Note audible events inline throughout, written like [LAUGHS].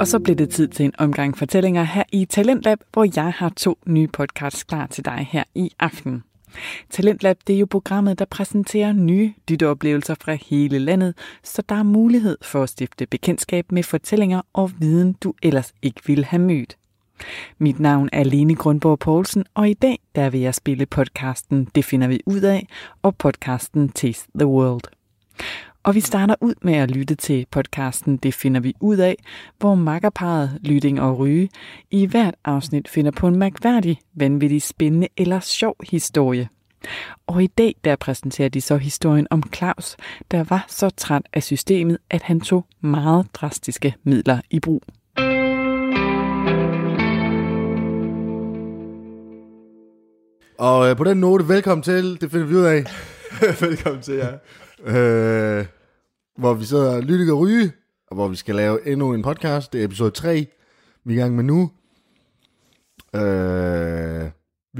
Og så blev det tid til en omgang fortællinger her i Talentlab, hvor jeg har to nye podcasts klar til dig her i aften. Talentlab det er jo programmet, der præsenterer nye lytteoplevelser fra hele landet, så der er mulighed for at stifte bekendtskab med fortællinger og viden, du ellers ikke ville have mødt. Mit navn er Lene Grundborg Poulsen, og i dag der vil jeg spille podcasten Det finder vi ud af, og podcasten Taste the World. Og vi starter ud med at lytte til podcasten Det finder vi ud af, hvor makkerparet Lytting og Ryge i hvert afsnit finder på en mærkværdig, vanvittig, spændende eller sjov historie. Og i dag der præsenterer de så historien om Claus, der var så træt af systemet, at han tog meget drastiske midler i brug. Og øh, på den note, velkommen til, det finder vi ud af, [LAUGHS] Velkommen til jer. øh, hvor vi sidder og lytter og ryge, og hvor vi skal lave endnu en podcast. Det er episode 3, vi er i gang med nu. Øh, Vi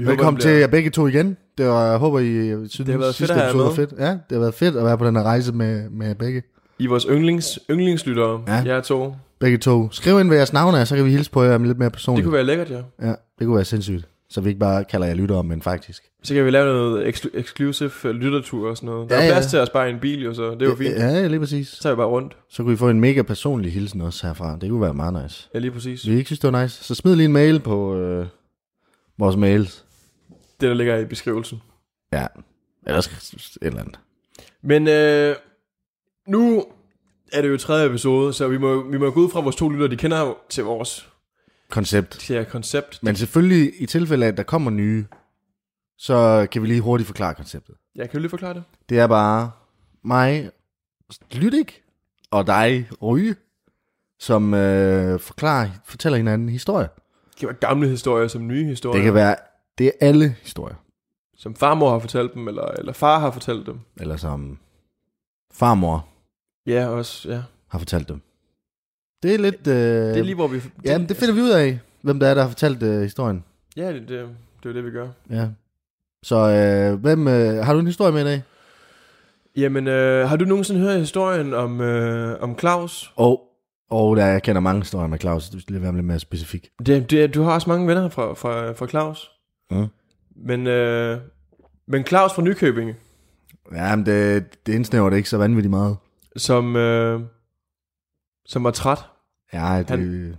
velkommen håber, til det jer begge to igen. Det var, jeg håber, I øh, synes, Det har været fedt sidste at have episode jer var fedt. Ja, det har været fedt at være på den her rejse med, med jer begge. bliver- I er vores yndlings, yndlingslyttere, Ja. ja. jer to. Det Begge to. Skriv ind, hvad jeres navn er, så kan vi hilse på jer lidt mere personligt. kunne være lækkert, ja. være... Ja, det kunne være sindssygt. Så vi ikke bare kalder jer lyttere, men faktisk. Så kan vi lave noget eksklu- exclusive øh, lyttertur og sådan noget. Der Ja, ja, ja. er plads til at spare i en bil, jo, så det er jo fint. Ja. Ja, lige præcis. Så tager vi bare rundt. Så kunne I få en mega personlig hilsen også herfra. Det kunne være meget nice. Ja, lige præcis. Hvis vi ikke synes, det var nice, så smid lige en mail på øh, vores mails. Det, der ligger i beskrivelsen. Ja, eller sk- et eller andet. Men øh, nu er det jo tredje episode, så vi må, vi må gå ud fra at vores to lyttere. De kender jo til vores Koncept. til jeres koncept. Men selvfølgelig, i tilfælde af, at der kommer nye, så kan vi lige hurtigt forklare konceptet. Jeg kan jo lige forklare det. Det er bare mig, Lydik, og dig, Ryge, som øh, forklarer, fortæller hinanden historier. Det kan være gamle historier som nye historier. Det kan være, det er alle historier. Som farmor har fortalt dem, eller, eller far har fortalt dem. Eller som farmor Ja, også. Ja. har fortalt dem. Det er lidt... Øh, Det er lige, hvor vi... Ja, men det finder vi ud af, hvem der er, der har fortalt øh, historien. Ja, det, det, det er jo det, vi gør. Ja. Så øh, hvem, øh, har du en historie med i dag? Jamen, øh, har du nogensinde hørt historien om, øh, om Claus? Og, og der, jeg kender mange historier med Claus, du skal lige være lidt mere specifik. Det, det, du har også mange venner fra, fra, fra Claus. Mm. Men, øh, men Claus fra Nykøbing, Ja, men det, det indsnæver det ikke så vanvittigt meget. som, øh, som var træt. Ja, det, Han- Han,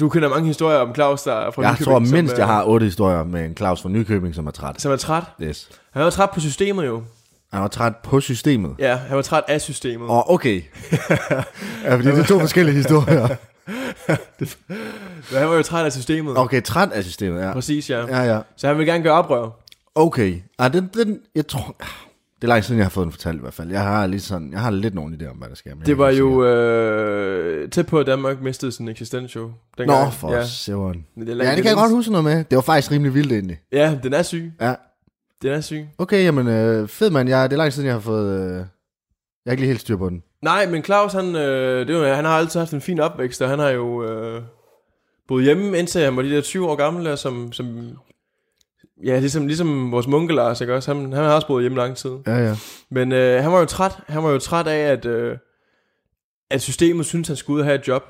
Du kender mange historier om Claus, der er fra jeg Nykøbing. tror som, mindst, øh, jeg har otte historier med en Claus fra Nykøbing, som er træt. Som er træt. Yes. Han var træt på systemet jo. Han var træt på systemet. Ja, han var træt af systemet. Åh, oh, okay. [LAUGHS] ja, fordi det er to forskellige [LAUGHS] historier. Men Han var jo træt af systemet. Okay, træt af systemet, ja. Præcis, ja. ja. Ja, ja. Så han vil gerne gøre oprør. Okay. Ah, den, den, jeg tror... Det er langt siden, jeg har fået den fortalt i hvert fald. Jeg har lige sådan, jeg har lidt nogen idé om, hvad der sker. men jeg Det kan var ikke sige- jo øh, tæt på, at Danmark mistede sin eksistens jo. dengang. Nå, for ja. øh, ja. søvn. Men det er Ja, det kan jeg godt huske noget med. Det var faktisk rimelig vildt egentlig. Ja, den er syg. Ja. Den er syg. Okay, jamen øh, fed mand. Jeg, det er lang tid siden, jeg har fået... Øh, jeg har ikke lige helt styr på den. Nej, men Claus, han, øh, det var, han har altid haft en fin opvækst, og han har jo øh, boet hjemme, indtil han var de der 20 år gamle, og som, som ja, ligesom, ligesom vores munke Lars, ikke også? Han, han har også boet hjemme lang tid. Ja, ja. Men øh, han var jo træt. Han var jo træt af, at, øh, at systemet syntes, han skulle ud og have et job.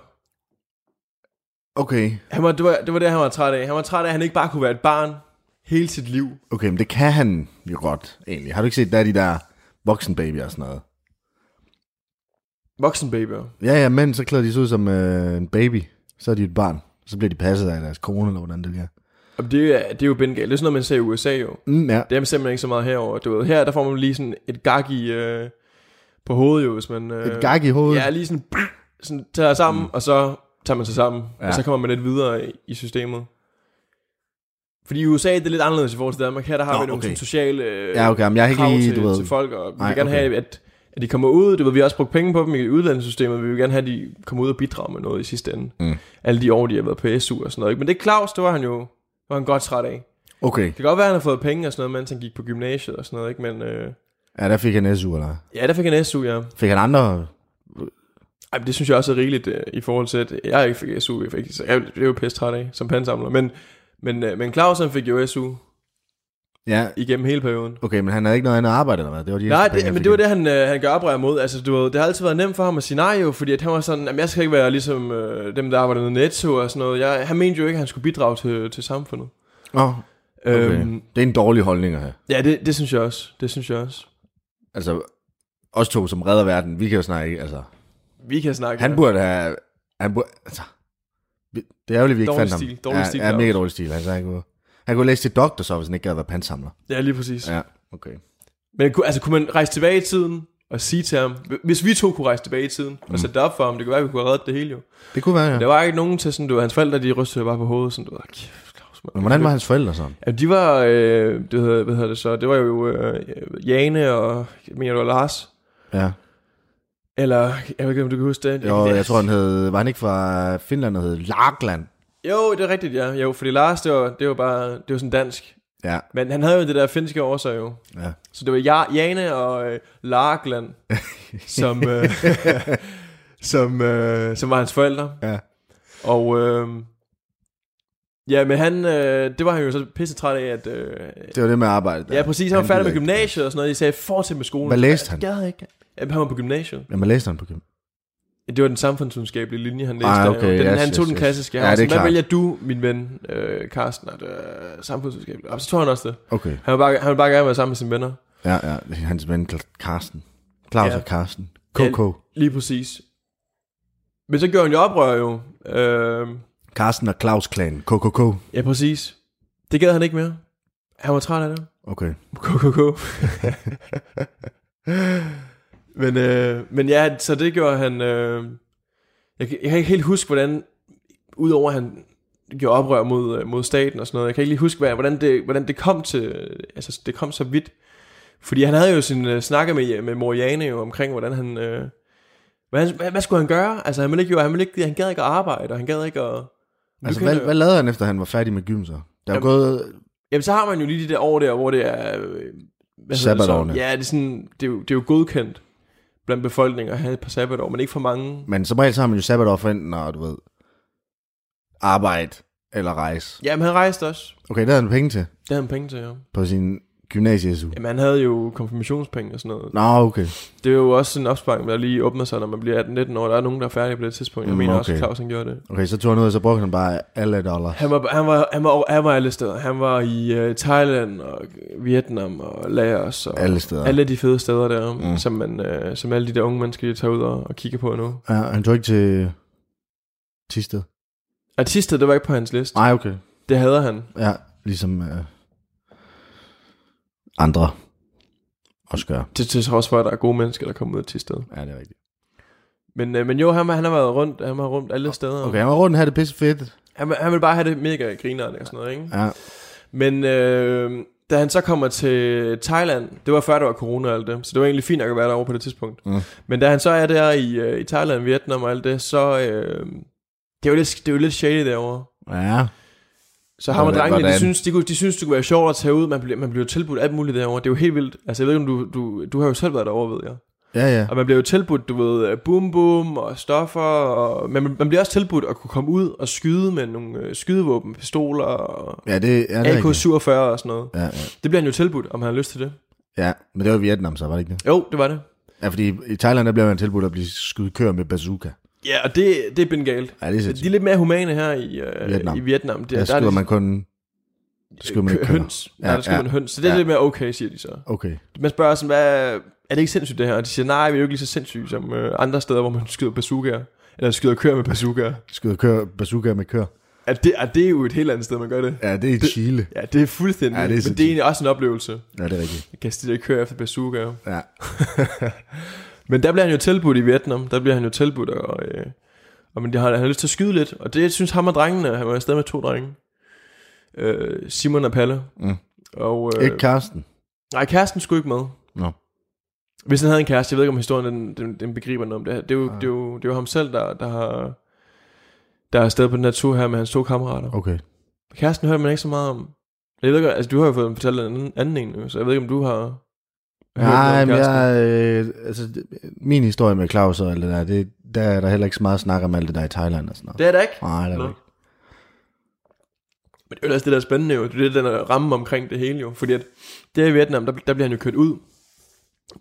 Okay. Han var, det, var, det var det, han var træt af. Han var træt af, at han ikke bare kunne være et barn hele sit liv. Okay, men det kan han jo godt, egentlig. Har du ikke set, der er de der voksenbabyer og sådan noget? Voksenbabyer. Ja, ja, men så klæder de sig ud som øh, en baby. Så er de et barn. Så bliver de passet af deres kone, eller hvordan det er. Og det, er- det er jo bindegalt. Det er sådan noget, man ser i USA jo. Mm, ja. Det er simpelthen ikke så meget herover. Du ved, her der får man lige sådan et gag i øh, på hovedet jo, hvis man... Øh, Et gag i hovedet. Ja, lige sådan, sådan tager sammen, mm. og så tager man sig sammen. Ja. Ja. Og så kommer man lidt videre i, i systemet. Fordi i USA det er lidt anderledes i forhold til Danmark. Her der har Nå, Nå, vi nogle okay. okay. sådan sociale øh, Ja, okay, men jeg har ikke krav lige, til, du ved- til folk, og vi Nej, vil gerne okay. have, at, at de kommer ud. Du ved, vi har også brugt penge på dem i uddannelsessystemet. Vi vil gerne have, at de kommer ud og bidrager med noget i sidste ende. Mm. Alle de år, de har været på SU og sådan noget. ikke? Men det er Claus, det var han jo det var han godt træt af. Okay. Det kan godt være, at han har fået penge og sådan noget, mens han gik på gymnasiet og sådan noget, ikke? Men øh, Ja, der fik han SU, eller? ja, der fik han SU, ja. Fik han andre? Ej, men det synes jeg også er rigeligt øh, i forhold til, at jeg ikke fik SU. Jeg, fik, så jeg blev pisse træt af som pansamler. Men, men, øh, men Claus, han fik jo SU. Ja, igennem hele perioden. okay, men han havde ikke noget andet arbejde eller hvad? Det var de Nej, eneste penge, det, han men fik det var ind. det, han, øh, han gør oprør mod. Altså, du ved, det har altid været nemt for ham at sige nej, jo, fordi at han var sådan, jamen, jeg skal ikke være ligesom øh, dem, der arbejder med Netto og sådan noget. Jeg, han mente jo ikke, at han skulle bidrage til, til samfundet. Nå, okay. øhm, det er en dårlig holdning at have. ja, det, det synes jeg også. Det synes jeg også. Altså, os to som redder verden, vi kan jo snakke, altså. Vi kan snakke. Han ja. burde have... Han burde, altså, vi- det er jo, at vi ikke Dårlig fandt ham. stil, dårlig ja, stil, Ja, mega Claus. dårlig stil. Altså, han, kunne, han kunne læse til doktor, så hvis han ikke gad være pantsamler. Ja, lige præcis. Ja. Ja, okay. Men kunne- altså, kunne man rejse tilbage i tiden og sige til ham, hvis vi to kunne rejse tilbage i tiden mm. og sætte det op for ham, det kunne være, at vi kunne have reddet det hele jo. Det kunne være, ja. Der var ikke nogen til sådan, du ved, hans forældre, de rystede bare på hovedet, sådan, du ved, kæft, Claus, mand. Men hvordan var hans forældre så? Ja, de var, øh, det hedder, hvad hedder det så, det var jo øh, Jane og, jeg mener, det var Lars, Ja. Eller, jeg ved ikke, om du kan huske det. Jo, det, jeg tror, han hed... Var han ikke fra Finland og hed Larkland? Jo, det er rigtigt, ja. Jo, fordi Lars, det var, det var bare, det var sådan dansk. Ja, Men han havde jo det der finske over sig jo. ja. Så det var ja, Jane og øh, [LAUGHS] Larkland, som, øh, [LAUGHS] som, øh, som var hans forældre. Ja. Og øh, ja, men han, øh, det var han jo så pissetræt af, at... Øh, Det var det med arbejde. ja, præcis, han var færdig med gider ikke. gymnasiet og sådan noget. De sagde, fortsæt med skolen. Hvad læste han? Jeg gad ikke. Jamen, han var på gymnasiet. Jamen, læste han på gym? Ja, Det var den samfundsvidenskabelige linje, han læste. Ah, der jo. okay, den, yes, han tog yes, den yes. klassiske. Ja, Han var det er sådan, klart. Hvad vælger du, min ven, øh, Carsten, at øh, samfundsvidenskabeligt? Og så tror han også det. Okay. Han vil bare, han vil bare gerne være sammen med sine venner. Ja, ja. det er Hans ven Cla- Carsten. Claus Ja. og Carsten. Ja. KK. Lige præcis. Men så gjorde han jo oprør jo. Øh, Carsten og Claus Klan. KKK. ja, præcis. Det gad han ikke mere. Han var træt af det. Okay. KKK. men, øh, men ja, så det gjorde han... Øh, jeg, kan- jeg kan ikke helt huske, hvordan... Udover at han gjorde oprør mod, øh, mod staten og sådan noget. Jeg kan ikke lige huske, hvad, hvordan, det, hvordan det kom til... Altså, det kom så vidt. Fordi han havde jo sin øh, snakker med, med Moriane jo omkring, hvordan han... Øh, hvad, han- hvad, hvad, skulle han gøre? Altså, han ville ikke, jo, han ville ikke, han gad ikke at arbejde, og han gad ikke at... Du Altså, kan- hvad, hvad lavede han efter, han var færdig med gym så? Der er jo Jamen, gået Jamen, så har man jo lige de der år der, hvor det er... øh, hvad hedder det så? Sabbatårene. Ja, det er, sådan, det, er jo, det er jo godkendt blandt befolkningen at have et par sabbatår, men ikke for mange. Men som regel så har man jo sabbatår for enten at, du ved, arbejde eller rejse. Jamen, han rejste også. Okay, der havde han penge til Det havde han penge til, ja. på sin gymnasie-SU. Jamen, han havde jo konfirmationspenge og sådan noget. Nå, okay. Det er jo også sådan en opsparing, der lige åbner sig, når man bliver 18-19 år. Der er nogen, der er færdige på det tidspunkt. Jeg Mm, mener også, okay. at Claus han gjorde det. Okay, så tog han ud, og så brugte han bare alle dollar. Han var, han var, han var, over- han var alle steder. Han var i øh, Thailand og Vietnam og Laos og Alle steder. alle de fede steder der, Mm. mm. som, man, øh, som alle de der unge mennesker, de tager ud og, og kigger på nu. Ja, han tog ikke til Tisted. Artister, det var ikke på hans liste. Nej, okay. Det hader han. Ja, ligesom øh, andre også gør. Til, til trods for, at der er gode mennesker, der kommer ud til sted. Ja, det er rigtigt. Men, øh, men jo, han, han har været rundt, han har rundt alle steder. Okay, han var rundt her, det er pisse fedt. Han, vil- han vil bare have det mega grineren og sådan noget, ikke? Ja, Men øh, da han så kommer til Thailand, det var før der var corona og alt det, så det var egentlig fint nok at være derovre på det tidspunkt. Mm. Men da han så er der i, øh, i Thailand, Vietnam og alt det, så øh, det er jo lidt, det er jo lidt shady derovre. ja. Så har man Hvordan- drengene, de hvordan? synes, de, kunne, de synes, det kunne være sjovt at tage ud. Man bliver, man bliver tilbudt alt muligt derovre. Det er jo helt vildt. Altså, jeg ved ikke, om du, du, du har jo selv været derovre, ved jeg. Ja, ja. Og man bliver jo tilbudt, du ved, boom boom og stoffer, og, men man- man bliver også tilbudt at kunne komme ud og skyde med nogle øh, skydevåben, pistoler og Ja, det, ja, det er rigtigt. AK-47 og sådan noget. Ja, ja. Det bliver han jo tilbudt, om han har lyst til det. ja, men det var i Vietnam så, var det ikke det? Jo, det var det. Ja, fordi i Thailand, der bliver man tilbudt at blive skudt kører med bazooka. Ja, og det, det er ben galt. Ja, det er De sindssygt. er lidt mere humane her i øh, Vietnam. Vietnam. I Vietnam. Det, Der, der er skyder det- man kun... Der skyder man ikke kønner. høns. Ja, Ja, der skyder ja. man høns. Så det er Ja. lidt mere okay, siger de så. Okay. Man spørger sådan, hvad, er det ikke sindssygt det her? Og de siger, nej, vi er jo ikke lige så sindssygt som øh, andre steder, hvor man skyder bazookaer. Eller skyder køer med bazookaer. Skyder kør, bazooka med kør. At det, at det er jo et helt andet sted, man gør det. Ja, det er i Chile. Ja, det er fuldstændig. Ja, det er Ja, det er men det sindssygt. er egentlig også en oplevelse. Ja, det er rigtigt. Jeg kan stille og køre efter bazooka. Ja. [LAUGHS] Men der bliver han jo tilbudt i Vietnam. Der bliver han jo tilbudt, og, øh, og men de har, han har lyst til at skyde lidt. Og det synes ham og drengene, han var afsted med to drenge. Øh, Simon og Palle. Mm. Og, Øh, ikke Karsten. nej, kæresten skulle ikke med. Nå. Hvis han havde en kæreste, jeg ved ikke om historien den, den, den begriber noget om det her. Det er jo, Ah. det er jo, det er jo ham selv, der, der har der er afsted på den her tur her med hans to kammerater. Okay. Kæresten hører man ikke så meget om. Jeg ved ikke, altså du har jo fået fortalt en anden, anden en, jo, så jeg ved ikke, om du har hørt noget Nej, om men kæresten. jeg, øh, altså, det- min historie med Claus og alt det der, det, der er der heller ikke så meget snak om alt det der i Thailand og sådan noget. Det er det ikke. Nej, det er der Nå. ikke. Men det er jo ellers det, der er spændende jo. Det er det, den er ramme omkring det hele jo. Fordi at der i Vietnam, der, der bliver han jo kørt ud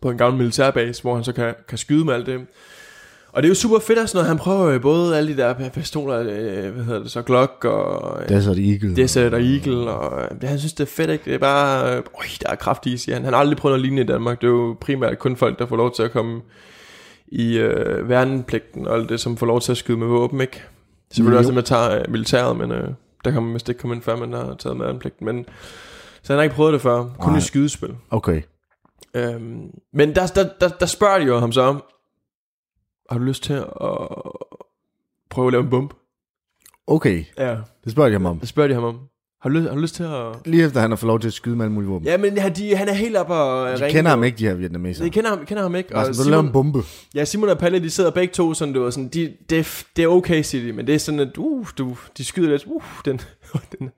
på en gammel militærbase, hvor han så kan, kan skyde med alt det. Og det er jo super fedt og sådan noget. Han prøver jo både alle de der pistoler, øh, hvad hedder det så, Glock og... øh, Det er så det eagle. Desert og Eagle, og øh, han synes, det er fedt, ikke? Det er bare, øh, øj, der er kraftige, siger han. Han har aldrig prøvet noget lignende i Danmark. Det er jo primært kun folk, der får lov til at komme i øh, værnepligten, og alt det, som får lov til at skyde med våben, ikke? Selvfølgelig Jo. også dem, der tager øh, militæret, men øh, der kan man vist ikke komme ind før, man har taget med værnepligten. Men, så han har ikke prøvet det før, kun Nej. i skydespil. Okay. Øhm, men der, der, der, der spørger de jo ham så om, har du lyst til at prøve at lave en bombe? Okay, Ja. det spørger jeg ham om. Der spørger de ham om, har du lyst, har du lyst til at... Lige efter han har fået lov til at skyde med alle mulige våben. Ja, men han- de, han er helt oppe og de kender ham ikke, de her vietnamesere. De kender ham, kender ham ikke. Altså, vil Og du lave en Simon, bombe? ja, Simon og Palle, de sidder begge to sådan, du ved, sådan, de, det, er f- det er okay, siger de, men det er sådan, at uh, du, de skyder lidt, uh, den, [LAUGHS] den,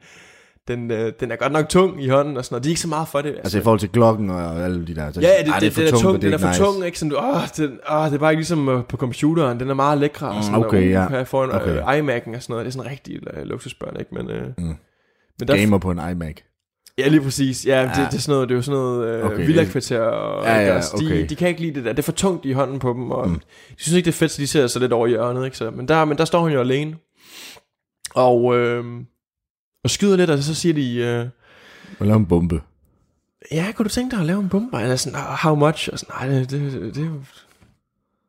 den, øh, den er godt nok tung i hånden, og sådan, og de er ikke så meget for det. Altså i forhold til klokken og alle de der. Så, Ja, ja, det, Ej, det, det, den er tungt, tung, og den er ikke for nice. tung, ikke? Sådan, du, åh, den, åh, det er bare ikke ligesom øh, på computeren, den er meget lækre, og Mm, sådan, Uh, okay, og, ja. her foran øh, Okay. iMac'en og sådan noget, det er sådan rigtig øh, luksusbørn, ikke? Men, øh, Mm. men der, Gamer på en iMac. Ja, lige præcis. Ja, ja. Det, Ja. det, er sådan noget, det er jo sådan noget øh, Okay, okay, det- villakvarter, og Ja, ja, ja, ja, okay. de, okay. de, kan ikke lide det der. Det er for tungt i hånden på dem, og Mm. mm. de synes ikke, det er fedt, så de ser sig lidt over i hjørnet. Ikke? Så, men, der, men der står hun jo alene, og, øh, og skyder lidt, og så siger de, øh, Vil du lave en bombe? ja, kunne du tænke dig at lave en bombe? Og jeg er sådan, "Ah, how much? Og sådan, nej, det, det, det, det er jo-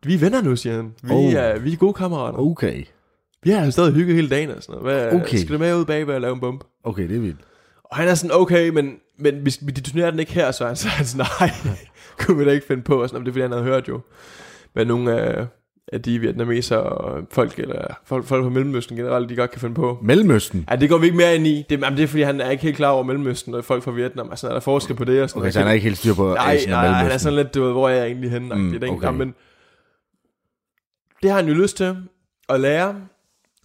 vi er venner nu, siger han. Vi, Oh. oh. er, vi er gode kammerater. Oh. Okay. Vi har stadig hygget hele dagen og sådan noget. Hvad, Okay. okay. Skal du med ud bag og lave en bombe? Okay, det er vildt. Og han er sådan, okay, men, men vi, vi detonerer den ikke her, så han, så han sådan, nej, [LAUGHS] kunne vi da ikke finde på. Og sådan, "Jamen, det er fordi, han havde hørt jo, hvad nogle af, af de vietnamesere og folk, eller folk, folk fra Mellemøsten generelt, de godt kan finde på. Mellemøsten. Ja, det går vi ikke mere ind i. Det, jamen, det er fordi, han er ikke helt klar over Mellemøsten og folk fra Vietnam. Altså, er der forskel på det? Og sådan Okay, noget. så Altså, han er ikke helt styr på Nej, Asien og nej, han er Mellemøsten. sådan lidt, du ved, hvor er jeg egentlig henne? Mm, Mm, det er okay. okay. men det har han jo lyst til at lære.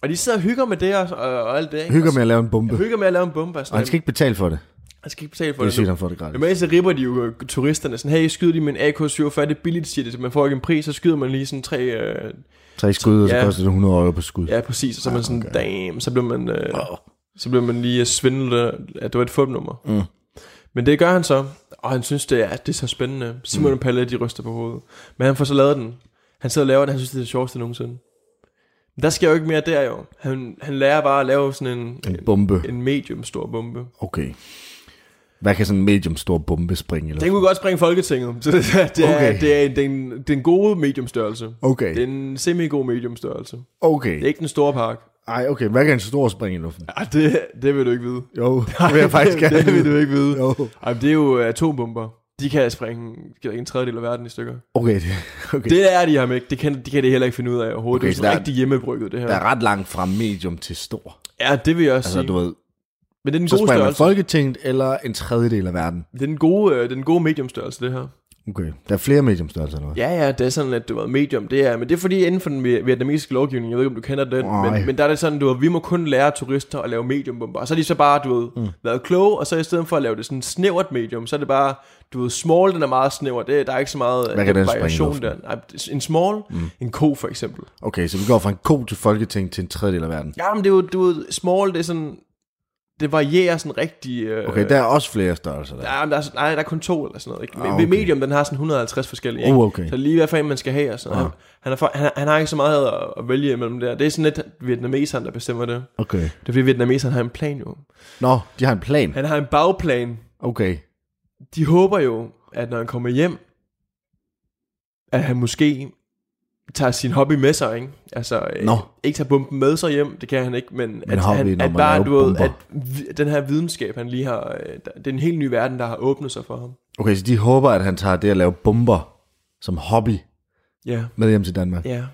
Og de sidder og hygger med det og, og, og alt det. ikke? Hygger Og med at lave en bombe. så- hygger med at lave en bombe. Og, Og sådan, han skal ikke betale for det. han skal ikke betale for Det er det. sygt, han får det gratis. Normalt så ripper de jo øh, turisterne sådan, hey, skyder de med en AK-47, det er billigt, siger de, så man får ikke en pris, så skyder man lige sådan tre, øh, Tre skud, og så Ja. koster det 100 euro på skud. ja præcis, og så er man sådan, okay. damn, så bliver man, øh, Åh. så bliver man lige øh, svindlet, af, at det var et fupnummer. Mm. Men det gør han så, og han synes, det er, det er så spændende. Simon Mm. og Palle, de ryster på hovedet. Men han får så lavet den. Han sidder og laver den, han synes, det er det sjoveste nogensinde. Men der sker jo ikke mere der jo. Han, han lærer bare at lave sådan en, En bombe. en medium stor bombe. Okay. Hvad kan sådan en medium stor bombe springe? Eller? Den kunne godt springe Folketinget. [LAUGHS] Så det, det, Okay. er, okay. det, er, det, er en, det er en god mediumstørrelse. Okay, Det er en semi-god mediumstørrelse. Det okay. er ikke den store pakke. Ej, okay. Hvad kan en stor springe i luften? Ja, det, det vil du ikke vide. Jo, det vil jeg faktisk det, gerne. det vil vide. du ikke vide. Jo. Ej, men det er jo atombomber. De kan sprænge skal der ikke en tredjedel af verden i stykker. Okay, det, okay. Det, Det er de ham ikke. Det kan, de kan det heller ikke finde ud af overhovedet. Okay, Okay, det er så jo sådan der er- rigtig hjemmebrygget, det her. der er ret langt fra medium til stor. Ja, det vil jeg også Altså, altså, sige. du ved, Men det er den så gode springer man størrelse. Folketinget eller en tredjedel af verden. Det er den gode, øh, det er den gode mediumstørrelse, det her. Okay, der er flere medium størrelser eller hvad? Ja, ja, det er sådan, at du ved, medium, det er, men det er fordi inden for den vi- vietnamesiske lovgivning, jeg ved ikke, om du kender den, Nej. men, men, der er det sådan, du ved, vi må kun lære turister at lave mediumbomber, og så er de så bare, du ved, mm. været kloge, og så i stedet for at lave det sådan snævert medium, så er det bare, du ved, small, den er meget snæver, det, der er ikke så meget øh, Hvad kan den springe i variation luften? der. Nej, en small, mm. en ko for eksempel. Okay, så vi går fra en ko til Folketinget til en tredjedel af verden. Ja, men det er jo, du ved, small, det er sådan, det varierer sådan rigtig... Øh, Okay, der er også flere størrelser der. Ja, men der er, nej, der er kun to eller sådan noget. Ikke? Ah, Ah, okay. okay. Medium, den har sådan 150 forskellige. Ikke? Oh, okay. Så lige hvad for en, man skal have og sådan Ah. noget. Han, han, er for, han, han, har ikke så meget at, at vælge imellem der. Det er sådan lidt vietnameseren, der bestemmer det. Okay. Det er fordi vietnameseren har en plan jo. Nå, de har en plan. Han har en bagplan. Okay. De håber jo, at når han kommer hjem, at han måske tager sin hobby med sig, ikke? Altså, øh, Nå. ikke tager bomben med sig hjem, det kan han ikke, men, at, hobbyen han, om at at bare, lave du ved, bomber. at vi- den her videnskab, han lige har, øh, der- det er en helt ny verden, der har åbnet sig for ham. Okay, så de håber, at han tager det at lave bomber som hobby Ja, med hjem til Danmark. ja,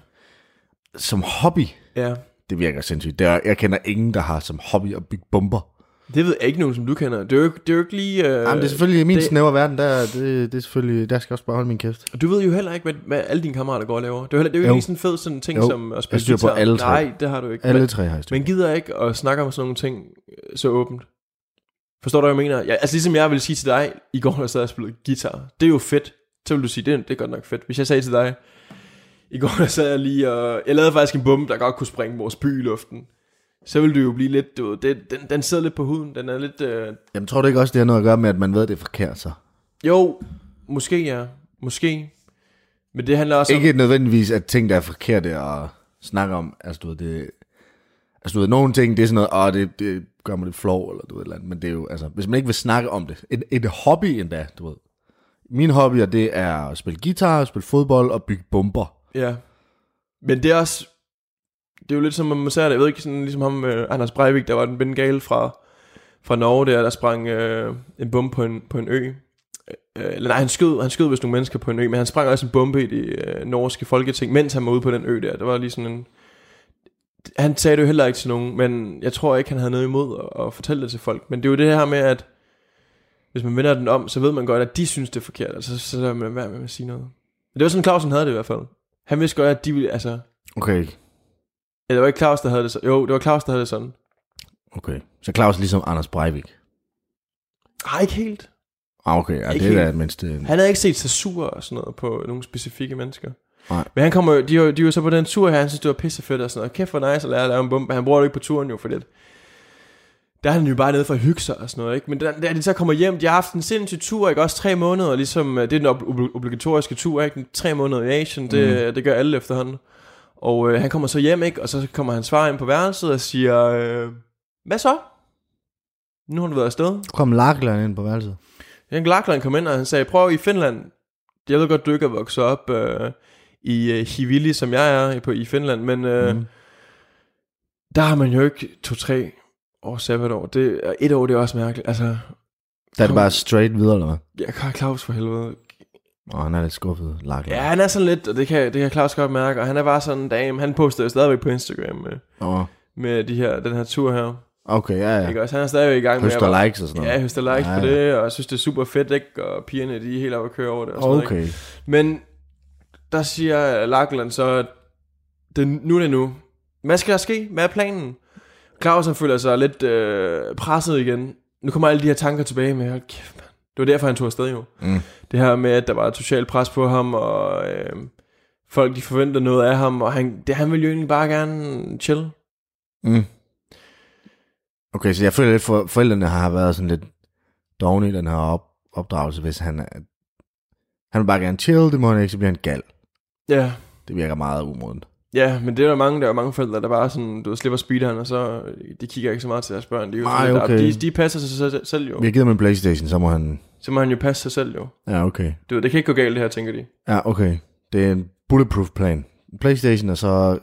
Som hobby? ja. Det virker sindssygt. Det er, jeg kender ingen, der har som hobby at bygge bomber. Det ved jeg ikke nogen, som du kender. Det er jo ikke, det er jo ikke lige... Øh, Øh, Jamen, det er selvfølgelig i min det- snævre verden, der, det, det er selvfølgelig, der skal jeg også bare holde min kæft. og du ved jo heller ikke, hvad, hvad alle dine kammerater går og laver. Det er jo, heller, det er jo, Jo. ikke sådan en fed sådan ting, Jo. som at Jeg spille styrer på guitar. alle tre. Nej, det har du ikke. Alle men, tre har jeg styr. men gider ikke at snakke om sådan nogle ting øh, så åbent. Forstår du, hvad jeg mener? Ja, altså ligesom jeg ville sige til dig, i går der sad og spillede guitar. Det er jo fedt. Så vil du sige, det, er- det er godt nok fedt. Hvis jeg sagde til dig, i går der sad jeg lige og... Jeg lavede faktisk en bombe, der godt kunne sprænge vores by i luften. så vil du jo blive lidt, du, ved, det, den, den sidder lidt på huden, den er lidt, øh, Jamen, tror du ikke også, det har noget at gøre med, at man ved, at det er forkert så? jo, måske ja, måske, men det handler også om, Ikke nødvendigvis, at ting, der er forkerte at snakke om, altså du ved, det... Altså du ved, nogle ting, det er sådan noget, åh, det, det gør mig lidt flov, eller du ved, et eller andet, men det er jo, altså, hvis man ikke vil snakke om det, et, et hobby endda, du ved. Mine hobbyer, det er at spille guitar, spille fodbold og bygge bomber. ja, men det er også, det er jo lidt som man ser det, jeg ved ikke, sådan ligesom ham, øh, Anders Breivik, der var den bengale fra, fra Norge der, der sprang øh, en bombe på en, på en ø, Øh, eller nej, han skød, han skød vist nogle mennesker på en ø, men han sprang også en bombe i det øh, norske folketing, mens han var ude på den ø der. Der var lige sådan en... Han sagde det jo heller ikke til nogen, men jeg tror ikke, han havde noget imod at, at fortælle det til folk. Men det er jo det her med, at hvis man vender den om, så ved man godt, at de synes, det er forkert. Altså, så lader man være med at sige noget. Men det var sådan, Clausen havde det i hvert fald. Han vidste godt, at de ville, altså... Okay, Eller det var ikke Claus, der havde det sådan. Jo, det var Claus, der havde det sådan. okay. Så Claus er ligesom Anders Breivik. Nej, ikke helt. Ah, okay, ja, Ikke det er helt. da mindst... øh, Han havde ikke set sig sur og sådan noget på nogle specifikke mennesker. Nej. Men han kommer, jo- de, er jo- de er jo så på den tur her, han synes, det var pissefedt og sådan noget. Kæft for nice at lære at lave en bombe. Han bruger det ikke på turen jo, fordi at der er han jo bare nede for at hygge sig og sådan noget. Ikke? Men da, da de så kommer hjem, de har haft en sindssyg tur, ikke? også tre måneder, ligesom, øh, det er den ob- ob- obligatoriske tur, ikke? Den tre måneder i Asien, det, mm. det gør alle efterhånden. Og øh, han kommer så hjem, ikke? og så kommer hans far ind på værelset og siger, øh, hvad så? Nu har du været afsted. Kom Lachlan ind på værelset. Jan Glakland kom ind, og han sagde, prøv i Finland, jeg ved godt, du ikke er vokset op øh, i øh, Hivili, som jeg er på, i Finland, men øh, mm. Mhm. der har man jo ikke to-tre år sabbatår. Det, og et år, det er også mærkeligt. Altså, Der er det Kom. bare straight videre, eller hvad? jeg kan Claus for helvede. Åh, han er lidt skuffet, Lachlan. Ja, han er sådan lidt, og det kan, det kan Claus godt mærke, og han er bare sådan en dame. Han postede stadigvæk på Instagram med, Åh, med de her, den her tur her. okay, ja, Ja. ja. Ikke? Også, han er stadigvæk i gang med Høster bare- likes og sådan noget. Ja, høster likes Ja, på ja. det, og jeg synes, det er super fedt, ikke? Og pigerne, de er helt oppe at køre over det. Og sådan noget, ikke? Okay. Men der siger Lachlan så, at det, nu er det nu. Hvad skal der ske? Hvad er planen? Claus han føler sig lidt øh, presset igen. Nu kommer alle de her tanker tilbage med, hold kæft, mand. Det var derfor, han tog afsted jo. Mm. Det her med, at der var et socialt pres på ham, og øh, folk de forventede noget af ham, og han, det, han ville jo egentlig bare gerne chill. Mm. Okay, så jeg føler lidt, for forældrene har været sådan lidt dogne i den her op, opdragelse, hvis han er... Han vil bare gerne chill, det må han ikke, så bliver han gal. Ja, Det virker meget umodent. ja men det er der mange, der er mange forældre, der bare sådan, du ved, slipper speederen, og så øh, de kigger ikke så meget til deres børn. De, er jo sådan Nej, lidt op- okay. de, de passer sig selv, selv jo. Vi har givet ham en Playstation, så må han... Så må han jo passe sig selv jo. Ja, okay. Du ved, det kan ikke gå galt det her, tænker de. Ja, okay. Det er en bulletproof plan. En Playstation og så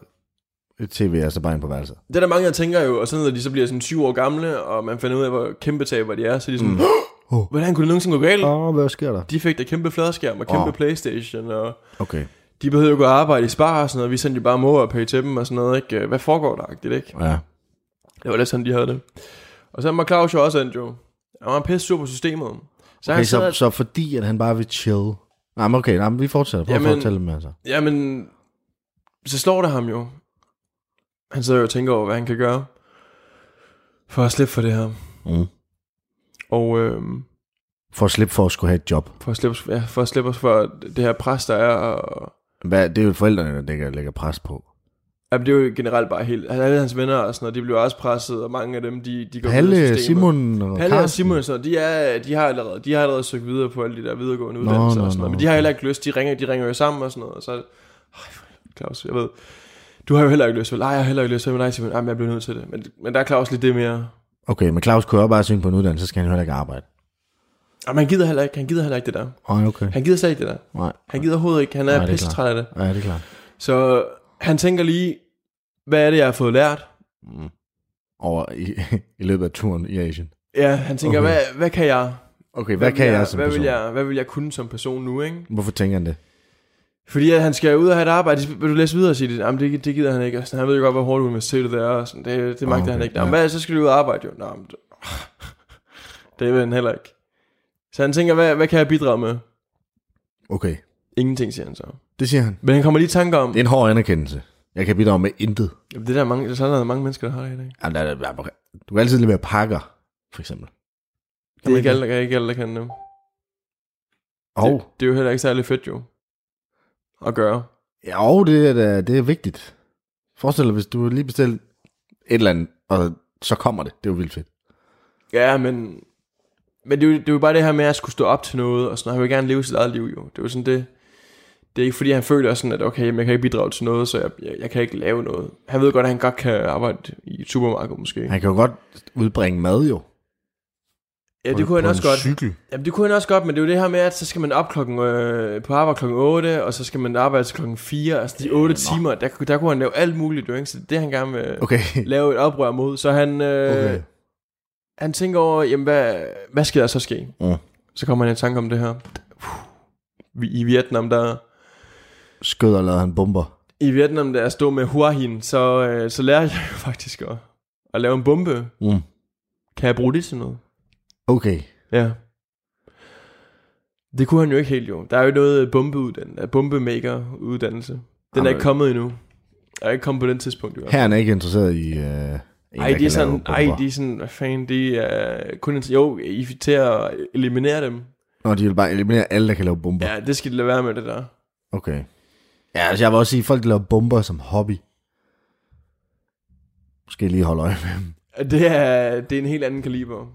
et tv, altså bare ind på værelset. Det er der mange, der tænker jo, og sådan når de så bliver sådan 20 år gamle, og man finder ud af, hvor kæmpe taber de er, så er de sådan, mm. Åh. hvordan kunne det nogensinde gå galt? Åh, oh, hvad sker der? De fik da kæmpe fladskærm og kæmpe Åh. Playstation, og Okay, de behøvede jo gå og arbejde i spar og sådan noget, vi sendte jo bare mor og pay til dem og sådan noget, ikke? Hvad foregår der, agtigt, ikke? ja. Det var lidt sådan, de havde det. Og så var Claus jo også endt jo. Han var pisse sur på systemet. Så Okay, han sad så, og- så fordi, at han bare vil chill... Nej, men okay, nej, men vi fortsætter. Prøv Jamen- at fortælle dem, altså. Jamen, så slår det ham jo. Han sidder jo og tænker over, hvad han kan gøre for at slippe for det her. Mm. Og øh, For at slippe for at skulle have et job. for, at slippe, ja, for at slippe os for det her pres, der er. Og, Hvad, det er jo forældrene, der lægger, lægger pres på. jamen, det er jo generelt bare helt... altså, Alle hans venner og sådan noget, de bliver også presset, og mange af dem, de, de går ud af Palle, systemet. Simon og Palle Carsten. og Simon og sådan noget, de, er, de, har allerede, de har allerede søgt videre på alle de der videregående Nå, uddannelser nå, og sådan noget, nå, men de har okay. heller ikke lyst, de ringer, de ringer jo sammen og sådan noget, og så, Ej, for helvede, Claus, jeg ved, du har jo heller ikke lyst, vel? Nej, jeg har heller ikke lyst, vel? Nej, Simon, Ej, men jeg bliver nødt til det, men, men der er Claus lidt det mere, Okay, men Claus kører bare søge på en uddannelse, så skal han jo heller ikke arbejde. og man gider heller ikke, han gider heller ikke det der, Ej, okay. han gider slet ikke det der, Nej, han gider overhovedet ikke, han er Nej, det er pisse træt af det, ja, det er klart. så han tænker lige, hvad er det, jeg har fået lært, Mm. Over i, [LAUGHS] i løbet af turen i Asien. ja, han tænker, Okay. hvad, hvad kan jeg, Okay, hvad, vil kan jeg, som hvad person? vil jeg, hvad vil jeg kunne som person nu, ikke? Hvorfor tænker han det? Fordi at han skal ud og have et arbejde. Vil du læse videre og sige det? Jamen, det, det gider han ikke. Og sådan, han ved jo godt, hvor hårdt universitetet er. Og sådan, det, det magter okay, Ah, Okay, han ikke. Jamen, ja. hvad, så skal du ud og arbejde jo. Nå, men, det, [LAUGHS] det vil han heller ikke. Så han tænker, hvad, hvad kan jeg bidrage med? Okay, Ingenting, siger han så. det siger han. Men han kommer lige i tanke om, Det er en hård anerkendelse. Jeg kan bidrage med intet. jamen, det der er mange, sådan er der mange mennesker, der har det i dag. Jamen, der, der, der, du kan altid levere pakker, for eksempel. Det er ikke alle, der, ikke alle, der kan det. Og det. Det er jo heller ikke særlig fedt jo. At gøre. jo, det er, da- det er vigtigt. Forestil dig, hvis du lige bestilte et eller andet, og så kommer det. Det er jo vildt fedt. Ja, men, men det, er jo, det er jo bare det her med at skulle stå op til noget, og sådan, han vil gerne leve sit eget liv jo. Det er jo sådan det, det er ikke fordi, han føler sådan, at okay, jamen, jeg kan ikke bidrage til noget, så jeg, jeg, jeg kan ikke lave noget. Han ved godt, at han godt kan arbejde i et supermarked måske. Han kan jo godt udbringe mad jo. Ja, på det en- kunne han på en også godt. cykel. Jamen, det kunne han også godt, men det er jo det her med, at så skal man op klokken, øh, på arbejde klokken 8, og så skal man arbejde til klokken 4, altså de 8 timer, der, der kunne han lave alt muligt, jo, ikke? så det er det, han gerne vil okay. Okay. lave et oprør mod. Så han, [LAUGHS] øh, okay. okay. han tænker over, jamen, hvad, hvad skal der så ske? Mm. Så kommer han i tanke om det her. Vi- I Vietnam, der... Skød og lavede han bomber. I Vietnam, der jeg stod med Hua Hin, så, øh, så lærer jeg [LAUGHS] jo faktisk at, at lave en bombe. Mm. Kan jeg bruge det til noget? Okay. Ja. Det kunne han jo ikke helt jo. Der er jo noget bombeuddannelse, bombemaker uddannelse. Den er Jamen. ikke kommet endnu. Jeg er ikke kommet på den tidspunkt i hvert fald. Her er han ikke interesseret i... Øh, en, Ej, der de er kan lave sådan, ej, bomber. de er sådan, hvad fanden, de er kun, inter- jo, I er til at eliminere dem. Nå, de vil bare eliminere alle, der kan lave bomber. Ja, det skal de lade være med det der. Okay. Ja, altså jeg vil også sige, at folk, der laver bomber som hobby, måske lige holde øje med dem. Det er, det er en helt anden kaliber.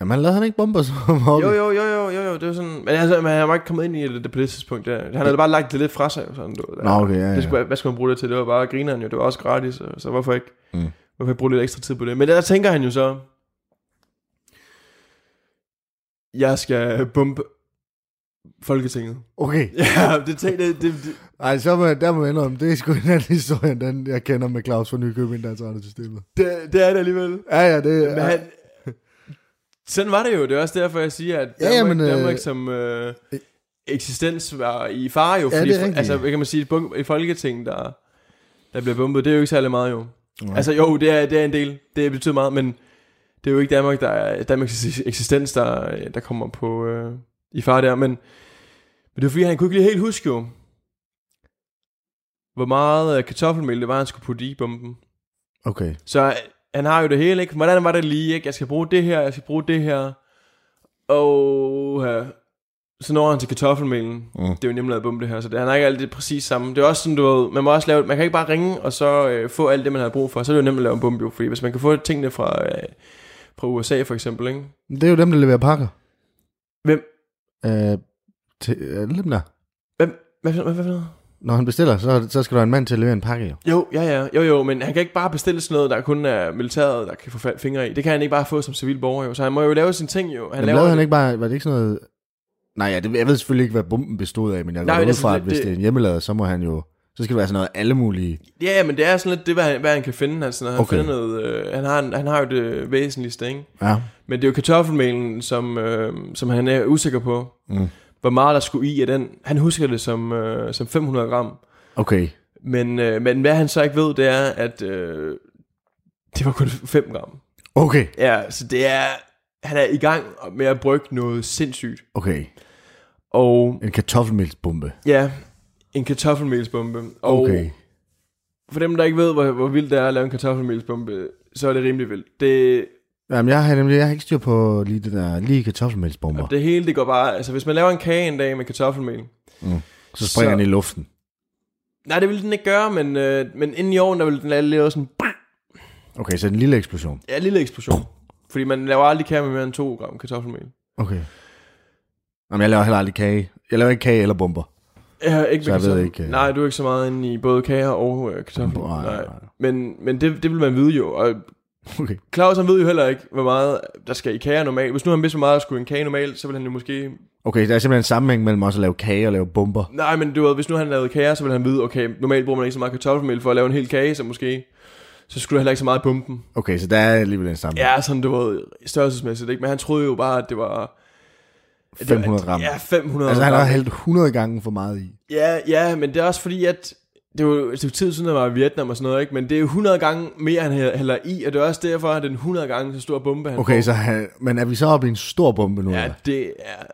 Jamen, lavede han ikke bomber som [LAUGHS] hobby? Jo, jo, jo, jo, jo, jo, det er sådan, men altså, men han var ikke kommet ind i det på det tidspunkt, ja. Han havde bare lagt det lidt fra sig, jo, sådan, du, ved. Nå, okay, ja, ja. Det skulle, hvad skulle man bruge det til? Det var bare grineren jo, det var også gratis, så, så hvorfor ikke, Mm. hvorfor ikke bruge lidt ekstra tid på det? Men der tænker han jo så, jeg skal bombe Folketinget. Okay. [LAUGHS] Ja, det tænker det, det, det, Ej, så må jeg, der må jeg indrømme, det er sgu en anden [LAUGHS] historie, end den jeg kender med Claus fra Nykøbing, der er trænet systemet. det, det er det alligevel. Ja, ja, det Men han, sådan var det jo, det er også derfor, jeg siger, at Ja, Danmark, ja, men, øh, Danmark som øh, eksistens var i fare jo, Ja, fordi, det er ja, rigtigt. altså, hvad kan man sige, et bunk- et folketing, der, der bliver bombet, det er jo ikke særlig meget jo. Altså jo, det er, det er en del, det betyder meget, men det er jo ikke Danmark, der er, Danmarks eks- eksistens, der, øh, der kommer på øh, i fare der, men, men det var fordi, han kunne ikke lige helt huske jo, hvor meget øh, kartoffelmel det var, han skulle putte i bomben. Okay. Så øh, han har jo det hele, ikke? Hvordan var det lige, ikke? Jeg skal bruge det her, jeg skal bruge det her. Og øh, så når han til kartoffelmelen. Mm. Det er jo nemt at bombe det her, så det, han har ikke alt det præcis samme. Det er også sådan, du ved, man, må også lave, man kan ikke bare ringe og så øh, få alt det, man har brug for. Så er det jo nemt at lave en bombe, jo, fordi hvis man kan få tingene fra, øh, fra USA for eksempel, ikke? Det er jo dem, der leverer pakker. Hvem? Øh, til, øh, dem der. Hvem? Hvad, hvad, hvad, hvad, hvad? Når han bestiller, så, så skal der en mand til at levere en pakke, jo. Jo, ja, ja. Jo, jo, men han kan ikke bare bestille sådan noget, der kun er militæret, der kan få fa- fingre i. Det kan han ikke bare få som civil borger, jo. Så han må jo lave sine ting, jo. Han Han lavede han ikke bare, var det ikke sådan noget... Nej, ja, det, jeg ved selvfølgelig ikke, hvad bomben bestod af, men jeg Nej, altså, går det er ud fra, sådan at lidt- hvis det- det er en hjemmelader, så må han jo... Så skal det være sådan noget alle mulige... Ja, ja, men det er sådan lidt det, hvad han, hvad han kan finde. Altså, når han, Okay. okay. finder noget, øh, han, har, en- han har jo det væsentligste, ikke? Ja. Men det er jo kartoffelmelen, som, øh, som han er usikker på. Mm. Hvor meget der skulle i af den. Han husker det som, øh, som 500 gram. Okay. Men, øh, men hvad han så ikke ved, det er, at øh, det var kun 5 gram. Okay. Ja, så det er... Han er i gang med at brygge noget sindssygt. Okay. Og En kartoffelmelsbombe. ja, en kartoffelmelsbombe. Og Okay. for dem, der ikke ved, hvor, hvor vildt det er at lave en kartoffelmelsbombe, så er det rimelig vildt. Det, Jamen, jeg har nemlig jeg har ikke styr på lige det der, lige kartoffelmelsbomber. Det hele, det går bare... Altså, hvis man laver en kage en dag med kartoffelmel... Så springer så- den i luften. Nej, det ville den ikke gøre, men, øh, men inden i ovnen, der ville den lave- lave sådan... Okay, så en lille eksplosion. Ja, en lille eksplosion. Fordi man laver aldrig kage med mere end 2 gram kartoffelmel. Okay. Jamen, jeg laver heller aldrig kage. Jeg laver ikke kage eller bomber. Ja, ikke Så med jeg ved kartoffel- ikke, øh. Nej, du er ikke så meget inde i både kager og øh, kartoffel. Nej, nej, Nej. nej. Men, men det, det vil man vide jo. Og Okay. Claus, han ved jo heller ikke, hvor meget der skal i kager normalt. Hvis nu han vidste, hvor meget der skulle i en kage normalt, så ville han jo måske... Okay, der er simpelthen en sammenhæng mellem også at lave kage og lave bomber. Nej, men du ved, hvis nu han lavede kager, så ville han vide, okay, normalt bruger man ikke så meget kartoffelmel for at lave en hel kage, så måske... Så skulle du heller ikke så meget i pumpen. Okay, så der er alligevel en sammenhæng. Ja, sådan, du ved, størrelsesmæssigt, ikke? Men han troede jo bare, at det var... at det var- 500 gram. Ja, 500 Altså, han gram. har hældt 100 gange for meget i. Ja, ja, men det er også fordi, at... Det var jo et stykke tid siden, han var i Vietnam og sådan noget, ikke? Men det er jo 100 gange mere, han hæ- hælder i, og det er også derfor, at det er en 100 gange så stor bombe, han Okay, får. så han, men er vi så oppe i en stor bombe nu? Ja, eller? det er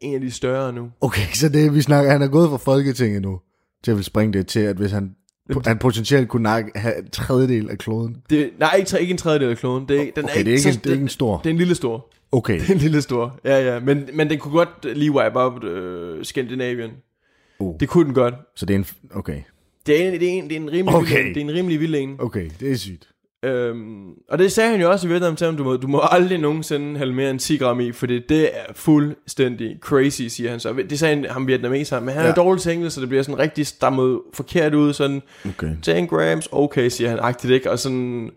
en af de større nu. Okay, så det, vi snakker, han er gået fra Folketinget nu, til at vil springe det til, at hvis han, han potentielt kunne nakke, have en tredjedel af kloden. Det, nej, ikke, tre- ikke en tredjedel af kloden. Det, den Okay, det er ikke, sådan- en, det er ikke en stor. det er en lille stor. [LAUGHS] Okay, Det er en lille stor. Ja, ja. Men, men den kunne godt lige wipe up øh, Scandinavian. Oh. Det kunne den godt. så det er en... Okay, Det er en, det er en, det er en rimelig, Okay. vild, en. det er en rimelig vild en. okay, det er sygt. Øhm, og det sagde han jo også i Vietnam til ham, du må, du må aldrig nogensinde have mere end 10 gram i, for det, det er fuldstændig crazy, siger han så. Det sagde han, ham vietnameser, men han ja. er Ja. dårligt tænkt, så det bliver sådan rigtig stammet forkert ud, sådan Okay. 10 grams, okay, siger han, agtigt ikke, og sådan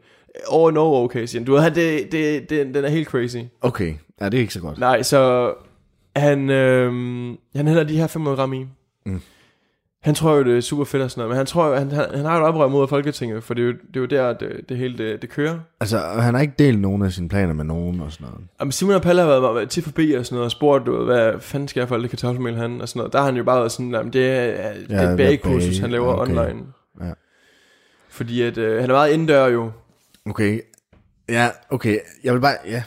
over and over, okay, siger han. Du ved, han, det, det, det, den er helt crazy. Okay. Ja, det er ikke så godt. Nej, så han, øhm, han hælder de her 500 gram i. Mm. Han tror jo, det er super fedt og sådan noget, men han, tror, jo- han, han, han har jo et oprør mod Folketinget, for det er jo, det er jo der, det, det hele det, det kører. Altså, han har ikke delt nogen af sine planer med nogen og sådan noget. Jamen, Simon og Palle har været, været til forbi og sådan noget, og spurgt, du ved, hvad fanden skal jeg for alt det kartoffelmel han, og sådan noget. Der har han jo bare været sådan, jamen, det er det Ja, er et det bagekursus, bage, han laver ja, okay. online. Ja. Fordi at, øh, han er meget indendør jo. Okay. Ja, okay. Jeg vil bare... Ja.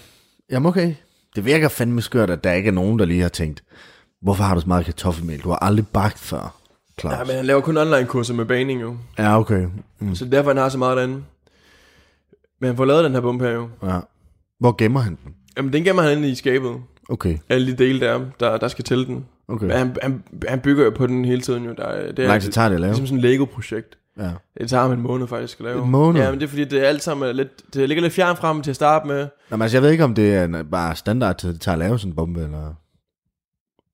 Jamen, okay. Det virker fandme skørt, at der ikke er nogen, der lige har tænkt, hvorfor har du så meget kartoffelmel? Du har aldrig bagt før, Ja, Claus. men han laver kun online kurser med baning jo. Ja, okay. Mm. Så det er derfor, han har så meget derinde. Men han får lavet den her bombe her jo. Ja. Hvor gemmer han den? Jamen, den gemmer han inde i skabet. Okay. Alle de dele der, er, der, der skal til den. Okay. Men han, han, han bygger jo på den hele tiden jo. Der, er- det Hvor er lang tid tager det at lave? ligesom sådan et Lego-projekt. Ja. Det tager ham en måned faktisk at lave. En måned? Ja, men det er fordi, det er alt sammen er lidt, det ligger lidt fjernt frem til at starte med. Nå, men altså, jeg ved ikke, om det er en, bare standard til, at det tager at lave sådan en bombe, eller...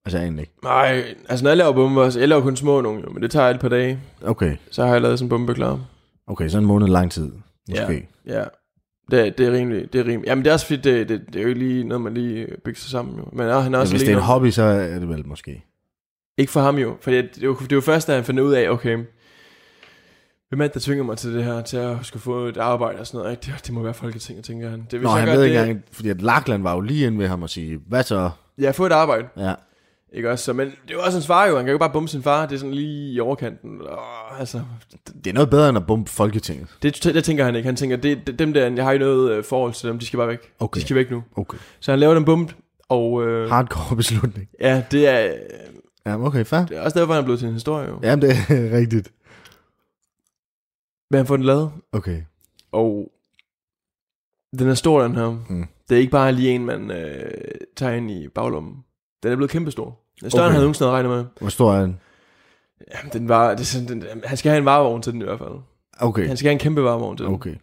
Altså, jeg aner ikke. Nej, altså når jeg laver bomber, så jeg laver kun små nogle jo, men det tager et par dage. Okay. Så har jeg lavet sådan en bombe klar. Okay, så en måned lang tid. Måske. Ja, ja. Det, det er rimelig, det er rimelig. Jamen det er også fordi, det, det, det er jo ikke lige noget, man lige øh, bygger sig sammen jo. Men ja, han er Men også hvis lige det er en noget- hobby, så er det vel måske. Ikke for ham jo, for det, det, er jo- det er jo først, da han finder ud af, okay, hvem er det, der tvinger mig til det her, til at skulle få et arbejde og sådan noget. Ikke? Det, det må være Folketinget, tænker han. Det, hvis Nå, jeg han gør ved det, ikke engang, fordi at Lachlan var jo lige inde ved ham og sige, hvad så? Ja, få et arbejde. Ja, Ikke også? Så, men det er jo også hans far jo. Han kan jo ikke bare bombe sin far. Det er sådan lige i overkanten. Åh, altså, det er noget bedre end at bombe Folketinget. det, det, tænker han ikke. Han tænker, det, det, dem der, jeg har ikke noget øh, forhold til dem. De skal bare væk. Okay. De skal væk nu. Okay. Så han laver den bombe. Og øh, Hardcore beslutning. ja, det er, øh, Ja, men okay, fair. det er også derfor, han er blevet til en historie jo. Ja. Jamen, det er [LAUGHS] rigtigt. Men han får den lavet. Okay. Og den er stor, den her. Mm. Det er ikke bare lige en, man øh, tager ind i baglommen. Den er blevet kæmpestor. Den er større, okay. Okay. end han nogensinde havde regnet med. Hvor stor er den? Jamen, den var, det er sådan, den, han skal have en varevogn til den i hvert fald. Okay. Han skal have en kæmpe varevogn til den. Okay.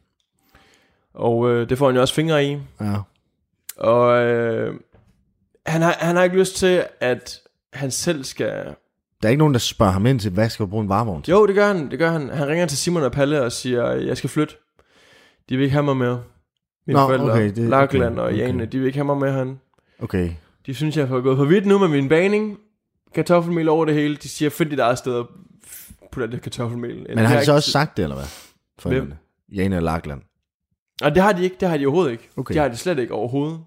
Og øh, det får han jo også fingre i. Ja. Og øh, han, har, han har ikke lyst til, at han selv skal... Der er ikke nogen, der spørger ham ind til, hvad skal du bruge en varevogn til? Jo, det gør han, det gør han. Han ringer til Simon og Palle og siger, jeg skal flytte. De vil ikke have mig mere. Mine Nå, forældre, okay, det- Lachlan okay, og okay. Jane, de vil ikke have mig med han. Okay. De synes, jeg har gået for vidt nu med min baning. Kartoffelmel over det hele. De siger, find dit eget sted og putte alt det kartoffelmel. ind." Men Det har de ikke så også tid- sagt det, eller hvad? Forældrene. Jane og Lachlan. Og det har de ikke, det har de overhovedet ikke. Okay. Det har de slet ikke overhovedet.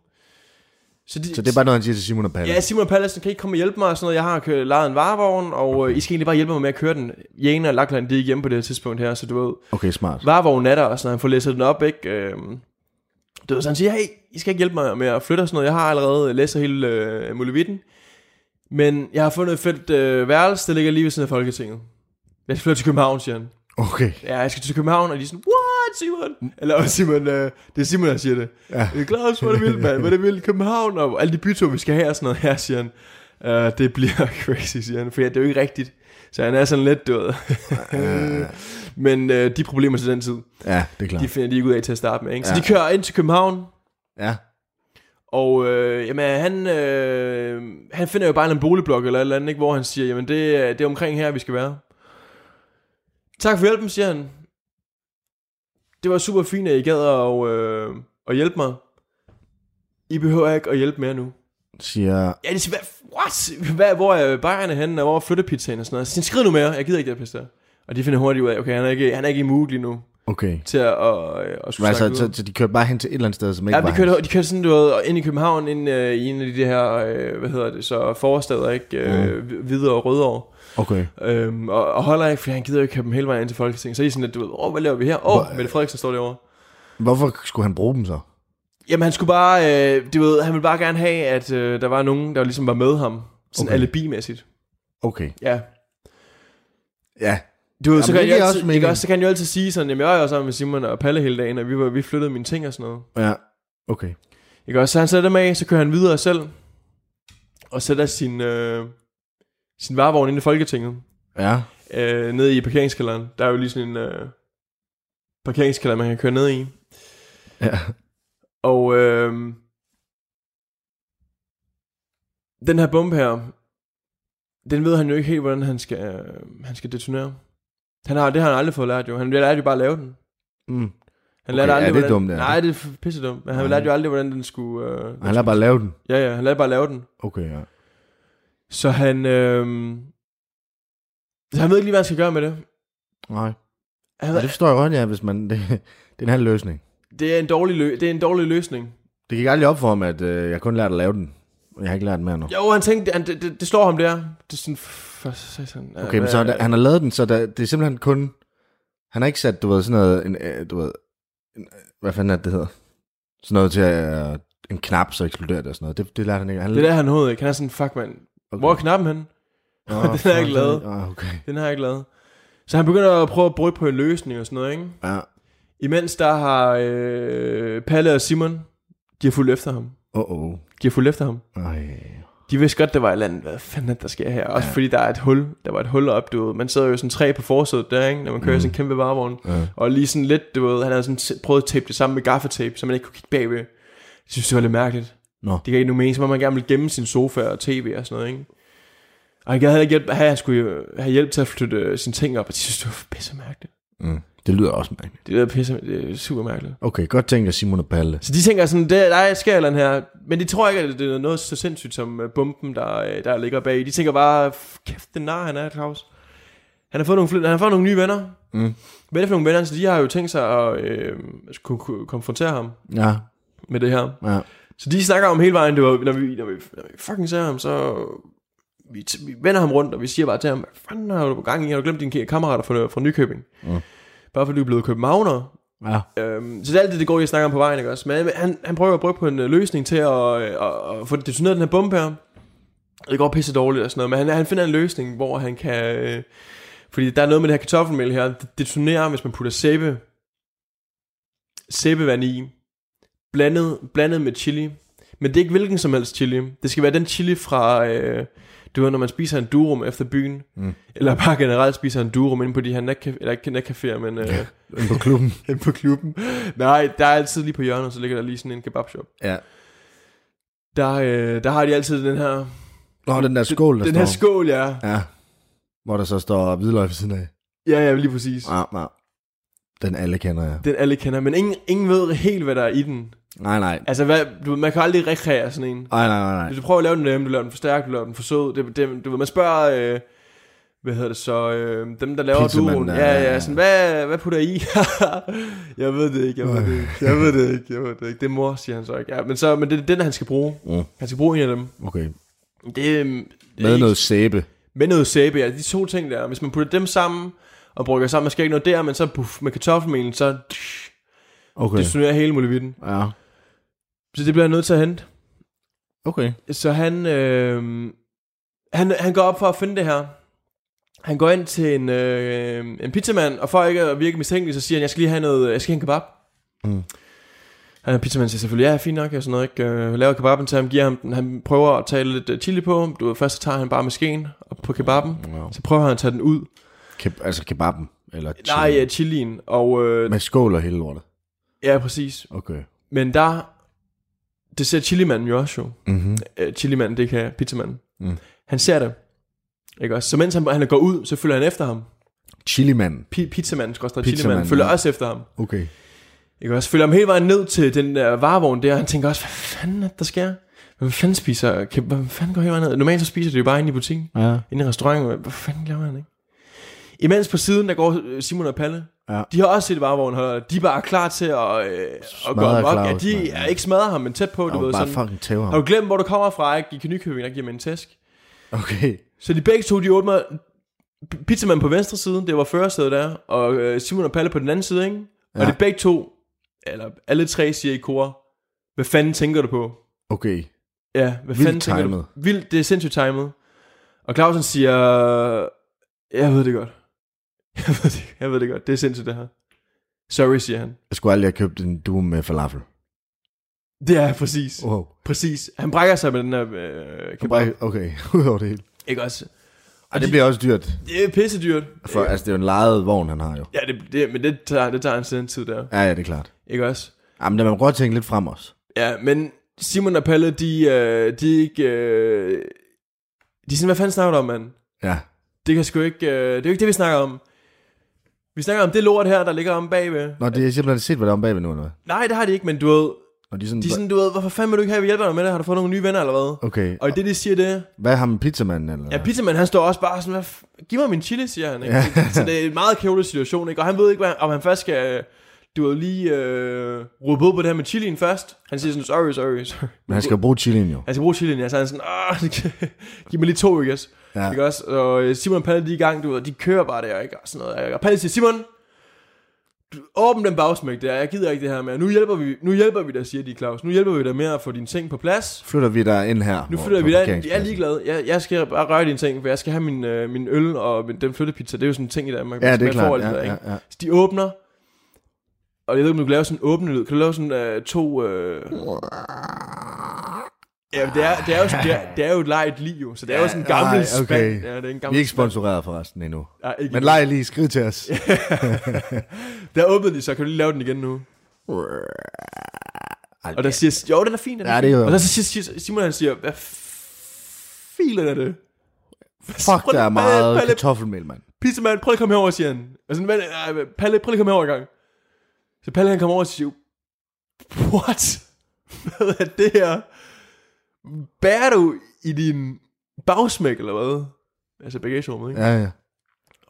Så, de, Så det er bare noget, han siger til Simon og Palle. Ja, Simon Pallesen, kan I ikke komme og hjælpe mig og sådan noget? Jeg har kø- lejet en varevogn, og øh, I skal egentlig bare hjælpe mig med at køre den. Jane og Lachlan, de er ikke hjemme på det her tidspunkt her, så du ved, Okay, smart. varevognen er der, og sådan noget. han får læsset den op, ikke? Øh, du ved, så han siger, hey, I skal ikke hjælpe mig med at flytte og sådan noget. Jeg har allerede læst hele øh, Mulevitten, men jeg har fundet et fedt øh, værelse, der ligger lige ved siden af Folketinget. Jeg skal flytte til København, siger han. Okay. Ja, jeg skal til København, og de er sådan, what, Simon? Eller også Simon, øh, det er Simon, der siger det. Ja. Øh, Claus, hvor er det vildt, mand. Hvor er det vildt. København og alle de byture, vi skal have og sådan noget her, siger han. Uh, det bliver [LAUGHS] crazy, siger han. For ja, det er jo ikke rigtigt. Så han er sådan lidt død. [LAUGHS] Men uh, de problemer til den tid, Ja, det er klart. de finder de ikke ud af til at starte med. Ikke? Så Ja. de kører ind til København. Ja. Og øh, jamen, han, øh, han finder jo bare en eller anden boligblok eller et eller andet, ikke? hvor han siger, jamen det, er- det er omkring her, vi skal være. Tak for hjælpen, siger han. Det var super fint, at I gad at, øh, at hjælpe mig. I behøver ikke at hjælpe mere nu. Siger... Ja, det siger, hvad, what? Hvad, hvor er bajerne henne, og hvor er flyttepizzaen og sådan noget. Så siger, han, skriv nu mere, jeg gider ikke det her pisse der. Og de finder hurtigt ud af, okay, han er ikke, han er ikke i mood lige nu Okay. til at, at, at, at Men skulle altså, snakke så, videre. så de kører bare hen til et eller andet sted, som ikke Ja, de var kørte, de kørte sådan, du ved, ind i København, ind øh, i en af de her, øh, hvad hedder det, så forsteder, ikke? Øh, mm. Videre og Rødovre. hans. Okay. Øhm, og, og holder ikke, fordi han gider jo ikke have dem hele vejen ind til Folketinget. Så er I sådan lidt, du ved, åh, hvad laver vi her? Åh, Hvor- oh, Mette Frederiksen står derovre. Hvorfor skulle han bruge dem så? Jamen, han skulle bare, øh, du ved, han ville bare gerne have, at øh, der var nogen, der ligesom var med ham. Sådan Okay. okay. alibimæssigt. Okay. Ja. Ja. Du ved, så, Jamen, kan det jeg giver også altid, mening. ikke også, så kan jeg jo altid sige sådan, jamen, jeg var jo sammen med Simon og Palle hele dagen, og vi, var, vi flyttede mine ting og sådan noget. Ja. Okay. Ikke også? Så han sætter dem af, så kører han videre selv, og sætter sin, øh, sin varevogn ind i Folketinget, Ja. øh, nede i parkeringskælderen. Der er jo lige sådan en øh, parkeringskælder, man kan køre ned i. Ja. Og øh, den her bombe her, den ved han jo ikke helt, hvordan han skal, øh, han skal detonere. Han har, det har han aldrig fået lært jo. Han lærte jo bare at lave den. Mm. Han Okay, lærte ja, aldrig, det er hvordan, dumt, ja. Nej, det er pisse dumt. Men han Nej. lærte jo aldrig, hvordan den skulle... Øh, den Og han lader bare lave den. skulle- Ja, ja, han lærte bare at lave den. Okay, ja. Så han... Øh, så han ved ikke lige, hvad han skal gøre med det. Nej. Han, Ja, det forstår jeg godt, ja, hvis man... [LAUGHS] Det, det er en halv løsning. det, er en dårlig lø, det er en dårlig løsning. Det gik aldrig op for ham, at øh, jeg kun lærte at lave den. Og jeg har ikke lært mere nu. Jo, han tænkte, han, det, det, det slår ham der. Det er sådan, for satan. Okay, men så han, han har lavet den, så der, det er simpelthen kun... Han har ikke sat, du ved, sådan noget... En, øh, du ved, en, øh, hvad fanden er det, det hedder? Sådan noget til at... Øh, en knap, så eksploderer det og sådan noget. Det, det lærte han ikke. Han, Det der er han hovedet ikke. Han er sådan, fuck mand. okay. [LAUGHS] Hvor er knappen henne? Nå, den er fuck, ikke lavet. Åh, okay. Den har jeg ikke lavet. Så han begynder at prøve at brygge på en løsning og sådan noget, ikke? Ja. Imens der har øh, Palle og Simon, de har fulgt efter ham. Åh, oh, oh. De har fulgt efter ham. Ej. De vidste godt, der var et eller andet, hvad fanden er det, der sker her. Også fordi der er et hul, der var et hul op, du ved. Man sidder jo sådan tre på forsædet der, ikke? Når man kører mm. sådan en kæmpe varevogn. Ja. Og lige sådan lidt, du ved, han havde sådan t- prøvet at tape det sammen med gaffatape, så man ikke kunne kigge bagved. Jeg synes, det var lidt mærkeligt. Nå. Det gav ikke nogen mening, som om man gerne ville gemme sin sofa og tv og sådan noget, ikke? Og han gad heller ikke hjælp, at han skulle jo have hjælp til at flytte øh, sine ting op, og de synes, det var pisse mærkeligt. Mm. Det lyder også mærkeligt. Det er pisse, det er super mærkeligt. Okay, godt tænkt af Simon og Palle. Så de tænker sådan, der, der sker et eller andet her, men de tror ikke, at det er noget så sindssygt som øh, bomben, der, øh, der ligger bag. De tænker bare, "F- kæft, den nar han er, Claus. Han har fået nogle, fl- han har fået nogle nye venner. Mm. Hvad er det for nogle venner? Så de har jo tænkt sig at øh, skulle kunne konfrontere ham Ja, med det her. ja. Så de snakker om hele vejen, det var, når, vi, når, vi, når vi fucking ser ham, så vi, t- vi vender ham rundt, og vi siger bare til ham, hvad fanden har du på gang i? Har du glemt dine kammerater fra, fra Nykøbing? Mm. Bare fordi du er blevet københavner, Ja. Øhm, så det er alt det, det går, jeg snakker om på vejen, ikke også? Men han, han prøver at bruge på en øh, løsning til at, øh, at, at få detoneret den her bombe her. Og Det går pisse dårligt og sådan noget, men han, han finder en løsning, hvor han kan... Øh, fordi der er noget med det her kartoffelmel her, det detonerer, hvis man putter sæbe, sæbevand i, blandet, blandet med chili. Men det er ikke hvilken som helst chili. Det skal være den chili fra, øh, du ved, når man spiser en durum efter byen. Mm. Mm. Eller bare generelt spiser en durum inde på de her natcaféer, eller ikke natcaféer, men... Øh, Inde på klubben. Hen på klubben. Nej, der er altid lige på hjørnet, så ligger der lige sådan en kebabshop. ja. Der, øh, der har de altid den her... Nå, den der skål, der den står. her skål, ja. Ja. Hvor der så står hvidløg ved siden af. Ja, ja, lige præcis. Ja, ja. Den alle kender jeg. Den alle kender, men ingen, ingen ved helt, hvad der er i den. Nej, nej. Altså, hvad, du, ved, man kan aldrig rekreere sådan en. Nej, nej, nej, nej. Hvis du prøver at lave den nemme, du laver den for stærk, du laver den for sød. Det, det, du ved, man spørger... Øh, hvad hedder det så? Øh, dem, der laver Pizzamanden, duoen. ja, Ja, ja, ja, ja. sådan, hvad, hvad putter I? [LAUGHS] jeg ved det ikke, jeg ved det ikke, jeg ved det ikke, jeg ved det ikke. Det er mor, siger han så ikke. Ja, men, så, men det er den, han skal bruge. Mm. Han skal bruge en af dem. Okay. Det, øhm, det er Med ikke- noget sæbe. Med noget sæbe, ja. De to ting der. Hvis man putter dem sammen og brygger sammen, man skal ikke noget der, men så puff, med kartoffelmelen, så okay. Okay. destonerer hele muligheden. Ja. Så det bliver jeg nødt til at hente. Okay. Så han, øh, han, han går op for at finde det her. Han går ind til en, øh, en pizzamand, og for ikke at virke mistænkelig, så siger han, jeg skal lige have noget, jeg skal have en kebab. Mm. Han er pizzamanden siger selvfølgelig, ja, fint nok, og sådan noget, ikke? Øh, laver kebaben til ham, giver ham den, han prøver at tale lidt øh, chili på, du ved, først så tager han bare med skeen op på kebaben, Wow. så prøver han at tage den ud, Ke- altså kebaben. Eller chili. Nej, ja, chilien. Og øh, Med skål og hele lortet. ja, præcis. Okay. Men der, det ser chilimanden jo også jo. Mm-hmm. Øh, chilimanden, det kan pizzamanden. Mm. Mm. Han ser det. Ikke også? Så mens han, han går ud, så følger han efter ham. Chilimanden. Pi- pizzamanden, skorstræk Pizzamanden, chilimanden, følger ja. også efter ham. Okay. Ikke også? Følger ham hele vejen ned til den der varevogn der, og han tænker også, hvad fanden er det, der sker? Hvem fanden spiser? Kan, hvem fanden går hele vejen ned? Normalt så spiser de jo bare inde i butikken, Ja. inde i restauranten. Hvad fanden laver han, ikke? Imens på siden, der går øh, Simon og Palle. Ja. De har også set varevognholdere. De er bare klar til at, øh, at gå Smadre amok. Ja, Claus, mand. de er ikke smadret ham, men tæt på. Du Du ved, bare sådan. fucking tæver Har ham. du glemt, hvor du kommer fra? Ikke? I Nykøbing, der giver mig en tæsk. Okay. Så de begge to, de åbner P- pizzamanden på venstre side, det var førersædet der, og øh, Simon og Palle på den anden side, ikke? Ja. Ja. Og de begge to, eller alle tre siger i kor, hvad fanden tænker du på? Okay. Ja, hvad Vildt fanden tænker timet. du? Vildt, det er sindssygt timet. Og Clausen siger, jeg ved det godt. [LAUGHS] Jeg ved det, jeg ved det godt, det er sindssygt det her. Sorry, siger han. Jeg skulle aldrig have købt en duum med falafel. Det er præcis. Oh. Wow. Præcis. Han brækker sig med den der øh, Kan kebab. bare, okay. [LAUGHS] Udover det hele. Ikke også? Og det bliver også dyrt. Det er pissedyrt. For, altså, det er jo en lejet vogn, han har jo. Ja, det, det, men det tager, det tager en siden tid der. Ja, ja, det er klart. Ikke også? Jamen, der man må godt tænke lidt frem også. Ja, men Simon og Palle, de, øh, de er ikke... Øh, de er sådan, hvad fanden snakker du om, mand? Ja. Det, kan sgu ikke, øh, det er jo ikke det, vi snakker om. Vi snakker om det lort her, der ligger om bagved. Nå, det er simpelthen set, hvad der er om bagved nu, eller hvad? Nej, det har de ikke, men du ved... Og de er sådan, De er sådan, du ved, hvorfor fanden vil du ikke have, at vi hjælper dig med det? Har du fået nogle nye venner eller hvad? okay, Og i det, de siger det, hvad har med pizzamanden, eller Ja, pizzamanden han står også bare sådan, hvad f- giv mig min chili, siger han. Ikke? Ja. Så det er en meget kævlig situation, ikke? og han ved ikke, hvad, om han først skal, øh, du ved lige, øh, råbe ud på det her med chilien først. Han siger sådan, sorry, sorry, sorry. Men han skal jo bruge chilien jo. Han skal bruge chilien, ja, så er altså, han sådan, Åh, [LAUGHS] giv mig lige to, ikke også? Ja. Ja. Ikke også? Og øh, Simon og Palle, de er i gang, du ved, de kører bare der, ikke? Og sådan noget, ikke? Og Palle siger, Simon, du- åbn den bagsmæk der, jeg gider ikke det her mere. Nu hjælper vi, nu hjælper vi dig, siger de, Claus. Nu hjælper vi dig med at få dine ting på plads. Flytter vi der ind her? Nu hvor- flytter på vi derind. Jeg er parkeringspladsen. ligeglad. Jeg, jeg skal bare røre dine ting, for jeg skal have min, øh, min øl og min, den flyttepizza. Det er jo sådan en ting i Danmark. Ja, man det er smager klart. forholdet Ja, der, ikke? ja, ja. Så de åbner. Og jeg ved ikke, om du kan lave sådan en åbne lyd. Kan du lave sådan øh, to... Øh... Ja, det er, det, er jo, det, er, det er jo et lejet liv, jo. Så det er jo sådan en gammel nej, spand. okay. Ja, det er en Vi gammel er ikke sponsoreret forresten endnu. spand. Ja, ikke Men endnu. leg lige, skriv til [LAUGHS] os. Der åbnede de, så kan du lige lave den igen nu. Ej, Og der siger... Jo, den er fin. Den Ja, er det er fin. jo- Og så siger siger- Simon, han siger... Hvad filen er det? Fuck, der er meget Palle, kartoffelmel, mand. pizzamand, prøv lige at komme herover, siger han. Og sådan, "Hvad- nej, Palle, prøv lige at komme herover i gang. Så Palle han kommer over og siger, what? [LAUGHS] Hvad er det her? Bærer du i din bagsmæk, eller hvad? Altså bagagerummet, ikke? Ja. Ja, ja.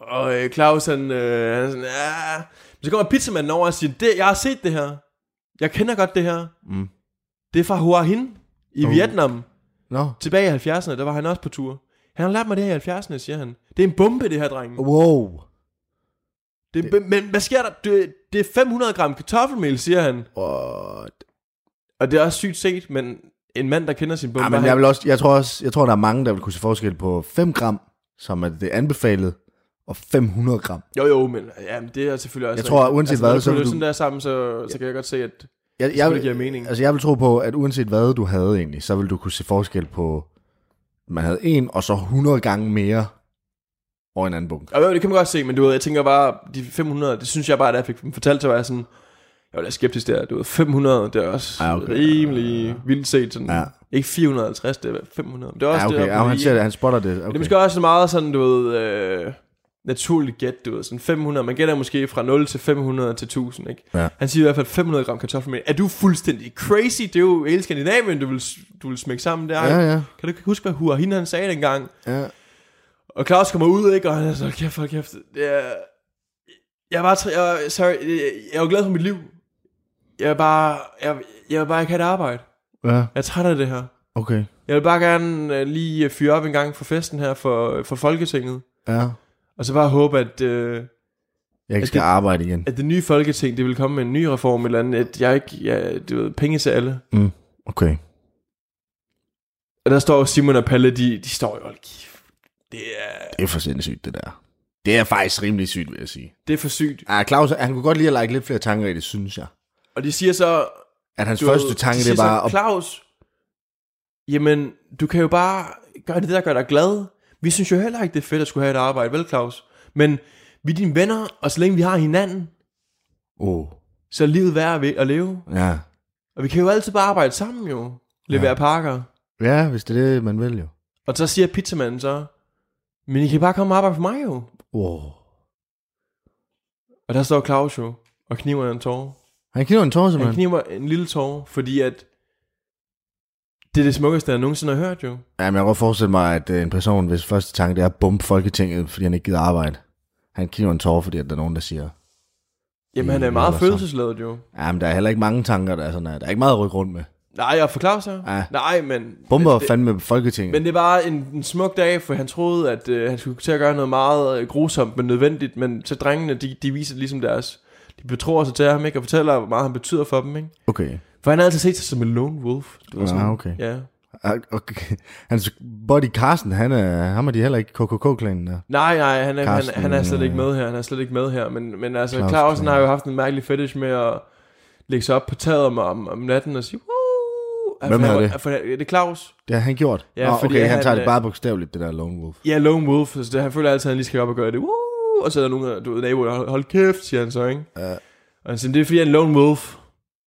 Og øh, Claus, han, øh, han er sådan, ja. Men så kommer pizzamanden over og siger, det, jeg har set det her. Jeg kender godt det her. Mm. Det er fra Hua Hin i Oh. oh. Vietnam. Nå. Tilbage i 70'erne, der var han også på tur. Han har lært mig det her i 70'erne, siger han. Det er en bombe, det her, dreng. Oh, Wow. Det, det. Men hvad sker der? Det, det er 500 gram kartoffelmel, siger han. What? Og det er også sygt set, men en mand, der kender sin bombe, Ja, Ah, men han- jeg, vil også, jeg, tror også, jeg tror, der er mange, der vil kunne se forskel på 5 gram, som er det anbefalede, og 500 gram. Jo, jo, men ja, men det er selvfølgelig også... Jeg tror, uanset hvad, så så... vil Når du... du- sådan der sammen, så, så kan jeg godt se, at Jeg, det jeg, giver mening. altså, jeg vil tro på, at uanset hvad du havde egentlig, så vil du kunne se forskel på, man havde en, og så 100 gange mere over en anden bunke. Og jo, det kan man godt se, men du ved, jeg tænker bare, de 500, det synes jeg bare, da jeg fik dem fortalt, så var jeg sådan... Jeg var lidt skeptisk der, du ved, 500, det er også Ja, ja, okay. okay. rimelig vildt set sådan... Ja. Ja. Ikke 450, det er 500. Men det er også Ja, okay. Mm. det, Ja, han, fordi- ser det, han spotter det. Det er Okay. måske også meget sådan, du ved, øh, naturligt gæt, du ved, sådan 500, man gætter måske fra 0 til 500 til 1000, ikke? Ja. Han siger i hvert fald 500 gram kartoffelmel. Er du fuldstændig crazy? Det er jo hele Skandinavien, du vil, du vil smække sammen der. Ja, ja. Kan du ikke huske, hvad Hua Hin han sagde dengang? ja. Og Claus kommer ud, ikke? Og han er så, kæft, hold kæft. Det er... Jeg er bare, tr- jeg, sorry, jeg, jeg er jo glad for mit liv. Jeg er bare, jeg, jeg vil bare ikke have et arbejde. ja. Jeg er træt af det her. Okay. Jeg vil bare gerne øh, lige fyre op en gang for festen her for, øh, for Folketinget. Ja. Og så bare håbe, at, øh, Jeg ikke det- skal arbejde igen. at det nye folketing, det vil komme med en ny reform eller andet, at jeg ikke, ja, du ved, penge til alle. Mm. Okay. Og der står Simon og Palle, de, de står jo, "Hold kæft, det er, Det er for sindssygt, det der. Det er faktisk rimelig sygt, vil jeg sige. det er for sygt. Ja, Claus, han kunne godt lide at lægge lidt flere tanker i det, synes jeg. Og de siger så, At hans du du, Altså, første ved, tanke, de det siger er bare... så, Claus, jamen, du kan jo bare gøre det, der gør dig glad. Vi synes jo heller ikke, det er fedt at skulle have et arbejde, vel Claus? Men vi er dine venner, og så længe vi har hinanden, Åh, oh, så er livet værd at leve. ja. Og vi kan jo altid bare arbejde sammen jo. Levere Ja. ja. pakker. Ja, hvis det er det, man vil jo. Og så siger pizzamanden så, men I kan bare komme og arbejde for mig jo. Wow. Og der står Claus jo, og kniver en tårer. Han kniver en tår, Han simpelthen. kniver en lille tårer, fordi at det er det smukkeste, jeg nogensinde har hørt jo. Jamen, jeg kan godt forestille mig, at øh, en person, hvis første tanke det er at bombe Folketinget, fordi han ikke gider arbejde. Han kniver en tår, fordi at der er nogen, der siger... Jamen, han er Ja, altså- meget eller sådan. følelsesladet jo. Jamen, der er heller ikke mange tanker, der er sådan her. Der er ikke meget at rykke rundt med. Nej, jeg for Claus her. Ja. Nej, men... Bomber men det, fandme Folketinget. men det var en, en smuk dag, for han troede, at øh, han skulle til at gøre noget meget øh, grusomt, men nødvendigt. Men så drengene, de, de viser ligesom deres... De betror sig til ham, ikke? Og fortæller, hvor meget han betyder for dem, ikke? Okay. For han har altid set sig som en lone wolf. Det var Ja, okay. Ja. Ah, okay. [LAUGHS] Hans buddy Carsten, han er, ham er de heller ikke KKK-klanen der. Nej, nej, han er, Carsten, han, han er slet ikke øh, med her. Han er slet ikke med her. Men, men altså, Claus Claus, Clausen Kløver. har jo haft en mærkelig fetish med at lægge sig op på taget om, om, om natten og sige... Woo! Altså, Hvem for han er var- det? For, han- det er Claus. Det har han gjort. Ja, Nå, fordi okay, han han, tager det øh, bare bogstaveligt, det der Lone Wolf. Ja, lone wolf. Så det, han føler altid, at han lige skal op og gøre det. Woo! Og så er der nogen, af- du ved, naboer, der hold, hold kæft, siger han så, ikke? Ja. Og han siger, det er fordi, han er en lone wolf.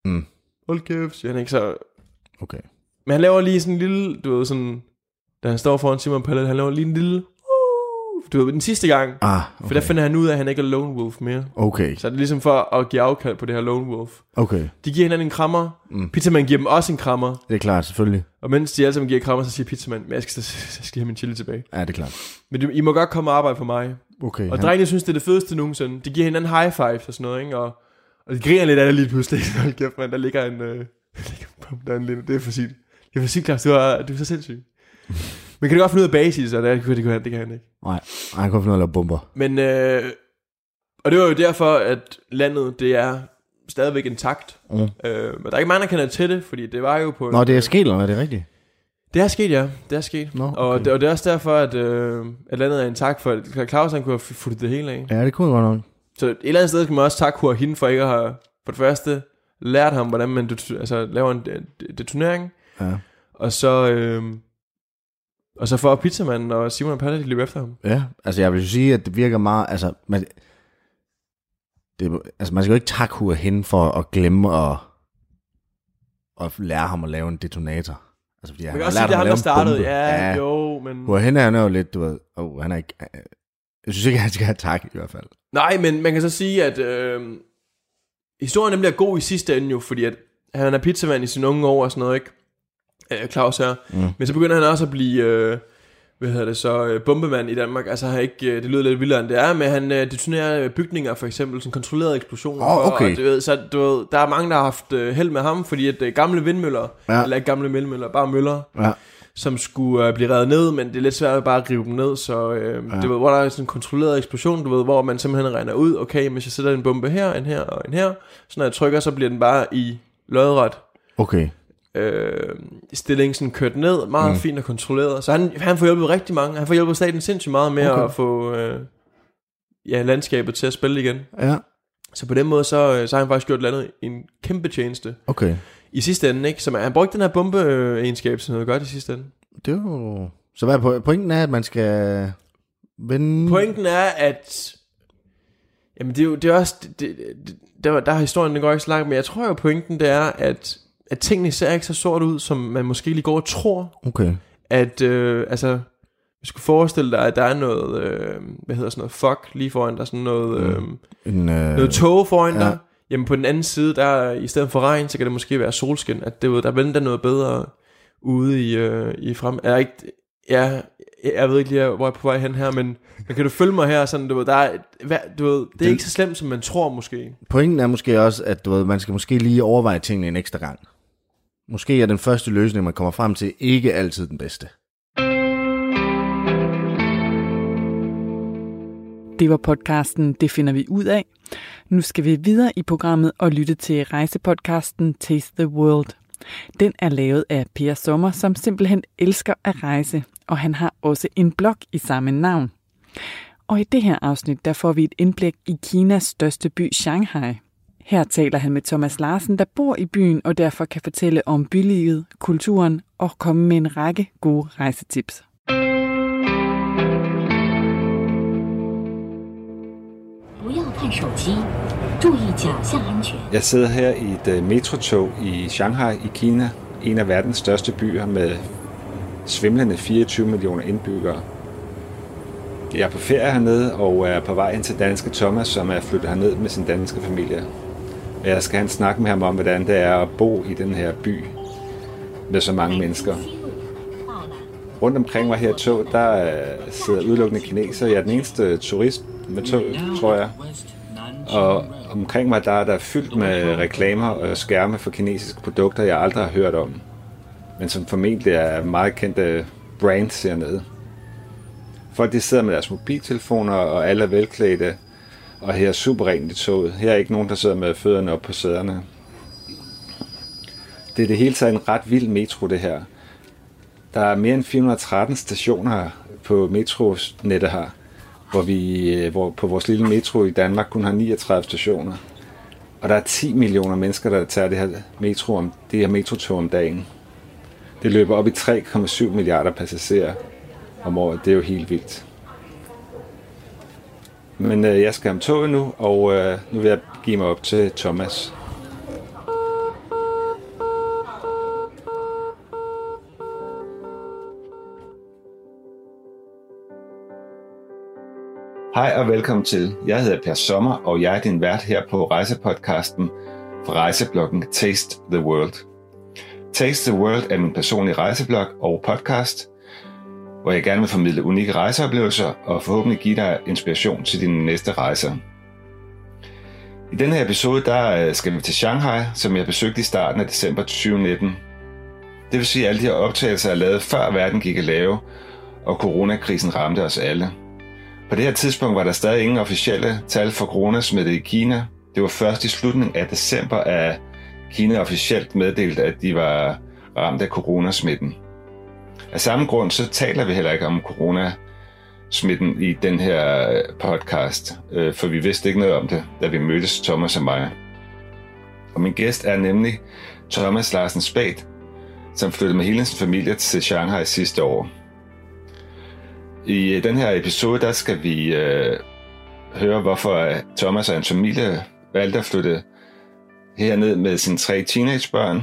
Mm. Hold kæft, siger han ikke. Så, Okay. men han laver lige sådan en lille, du ved sådan, da han står foran Simon Pallet, han laver lige en lille, uh, du ved, den sidste gang. Okay. Ah, For okay. der finder han ud af, at han ikke er lone wolf mere. Okay, Så er det ligesom for at give afkald på det her lone wolf. okay. De giver hinanden en krammer. Mm. Mm. Pizzaman giver dem også en krammer. Det er klart, selvfølgelig. Og mens de alle sammen giver krammer, så siger Pizzaman, men jeg skal, jeg skal have min chili tilbage. Ja, det er klart. Men du- I må godt komme og arbejde for mig. Okay. Og han- drengene synes, det er det fedeste nogensinde. De giver hinanden high fives og sådan noget, ikke? Og, og de griner lidt af det lige pludselig. [LAUGHS] Hold kæft, man, der ligger en... Øh, [LAUGHS] der ligger en bum, der er en lille, det er for sygt. Det er for sygt, Claus, du er, du er [LAUGHS] så sindssyg. Men kan du godt finde ud af basis, og det, det, det, kan han, det kan han ikke. Nej, nej, han kan finde ud af at lave bomber. Men, øh, og det var jo derfor, at landet, det er stadigvæk intakt. Mm. Øh, og der er ikke mange, der kender til det, fordi det var jo på... øh, Nå, det er sket, eller hvad? Er det rigtigt? Det er sket, ja. Det er sket. Nå, okay. Og, det, og det er også derfor, at, øh, at landet er intakt, for Claus han kunne have fulgt det hele af. Ja, det kunne jeg godt nok. Så et eller andet sted skal man også takke Hua Hin for ikke at have, for det første, lært ham, hvordan man det, altså, laver en det- detonering, Ja. og så, øhm, og så får pizzamanden og Simon og Palle, de løber efter ham. ja, altså jeg vil jo sige, at det virker meget... Altså, man, det, er- altså, man skal jo ikke takke Hua hen for at glemme at, at lære ham at lave en detonator. Altså, fordi Man han kan har også sige, lært det er ham ham, at der lave en startede. bombe. Ja, jo, men... Hua hen er jo lidt, du ved... Oh, han er ikke... Jeg synes ikke, han skal have tak i hvert fald. Nej, men man kan så sige, at øhm, historien nemlig er god i sidste ende jo, fordi at han er pizzamand i sine unge år og sådan noget, ikke? Øh, Claus her. Mm. Mm. Men så begynder han også at blive... Øh, hvad hedder det så, øh, bombemand i Danmark, altså han er ikke, øh, det lyder lidt vildere end det er, men han øh, detonerer øh, bygninger for eksempel, sådan kontrollerede eksplosioner. Åh, for, Ah, okay. Og, du ved, så du ved, der er mange, der har haft øh, held med ham, fordi at øh, gamle vindmøller, Ja. ja. eller ikke gamle vindmøller, bare møller, Ja. som skulle øh, blive revet ned, men det er lidt svært at bare rive dem ned, så øh, Ja. ja. du ved, hvor der er sådan en kontrolleret eksplosion, du ved, hvor man simpelthen regner ud, okay, hvis jeg sætter en bombe her, en her og en her, så når jeg trykker, så bliver den bare i lodret Okay. øh, stilling sådan kørt ned, meget mm. fint og kontrolleret, så han, han får hjulpet rigtig mange, han får hjulpet staten sindssygt meget med Okay. okay. at få øh, ja, landskabet til at spille igen. Ja, Så på den måde, så, øh, så har han faktisk gjort landet en kæmpe tjeneste. okay. I sidste ende, ikke? Så man, han brugte den her bombe-egenskab til noget godt i sidste ende. Det er jo... Så hvad er po- pointen er, at man skal vende... Pointen er, at... Jamen, det er jo det er også... Det, det, det, der, der er historien, den går ikke så langt, men jeg tror jo, pointen det er, at, at tingene ser ikke så sort ud, som man måske lige går og tror, Okay. at... Øh, altså, hvis du forestille dig, at der er noget, øh, hvad hedder sådan noget, fuck lige foran dig, sådan noget, øh, En, øh, noget tog foran Mm. ja. ja. dig. Jamen på den anden side, der er- i stedet for regn, så kan det måske være solskin, at det, ved, der venter noget bedre ude i, øh, i frem... Er der ikke, ja, jeg ved ikke lige, hvor jeg er på vej hen her, men, men kan du følge mig her? Sådan, du ved, der er, hvad, du ved, det er Det- ikke så slemt, som man tror måske. Pointen er måske også, at du ved, man skal måske lige overveje tingene en ekstra gang. Måske er den første løsning, man kommer frem til, ikke altid den bedste. Det var podcasten Det finder vi ud af. Nu skal vi videre i programmet og lytte til rejsepodcasten Taste the World. Den er lavet af Per Sommer, som simpelthen elsker at rejse, og han har også en blog i samme navn. Og i det her afsnit, der får vi et indblik i Kinas største by, Shanghai. Her taler han med Thomas Larsen, der bor i byen og derfor kan fortælle om bylivet, kulturen og komme med en række gode rejsetips. 不要看手机，注意脚下安全。 Jeg sidder her i et øh, metrotog i Shanghai i Kina, en af verdens største byer med svimlende 24 millioner indbyggere. Jeg er på ferie hernede og er på vej ind til danske Thomas, som er flyttet herned med sin danske familie. Og jeg skal have en snak med ham om, hvordan det er at bo i den her by med så mange mennesker. 西路到了。 Rundt omkring mig her i tog, der øh, sidder udelukkende kinesere. Jeg er den eneste turist med tog, tror jeg. Og omkring mig, der er der fyldt med reklamer og skærme for kinesiske produkter, jeg aldrig har hørt om. Men som formentlig er meget kendte brands hernede. Folk de sidder med deres mobiltelefoner, og alle er velklædte. Og her er super rent i toget. Her er ikke nogen, der sidder med fødderne op på sæderne. Det er det hele taget en ret vild metro, det her. Der er mere end 413 stationer på metronettet her, hvor vi øh, hvor på vores lille metro i Danmark kun har 39 stationer. Og der er 10 millioner mennesker, der tager det her, metro om, det her metrotog om dagen. Det løber op i 3,7 milliarder passagerer om året. Det er jo helt vildt. Men øh, jeg skal om toget nu, og øh, nu vil jeg give mig op til Thomas. Hej og velkommen til. Jeg hedder Per Sommer, og jeg er din vært her på rejsepodcasten fra rejsebloggen Taste the World. Taste the World er min personlige rejseblog og podcast, hvor jeg gerne vil formidle unikke rejseoplevelser og forhåbentlig give dig inspiration til dine næste rejser. I denne her episode der øh, skal vi til Shanghai, som jeg besøgte i starten af december 2019. Det vil sige, at alle de her optagelser er lavet før verden gik at lave, og coronakrisen ramte os alle. På det her tidspunkt var der stadig ingen officielle tal for coronasmitte i Kina. Det var først i slutningen af december, at Kina officielt meddelte, at de var ramt af coronasmitten. Af samme grund så taler vi heller ikke om coronasmitten i den her øh, podcast, øh, for vi vidste ikke noget om det, da vi mødtes, Thomas og mig. Og min gæst er nemlig Thomas Larsen Spad, som flyttede med hele sin familie til Shanghai sidste år. I øh, den her episode, der skal vi øh, høre, hvorfor øh, Thomas og hans familie valgte at flytte herned med sine tre teenagebørn.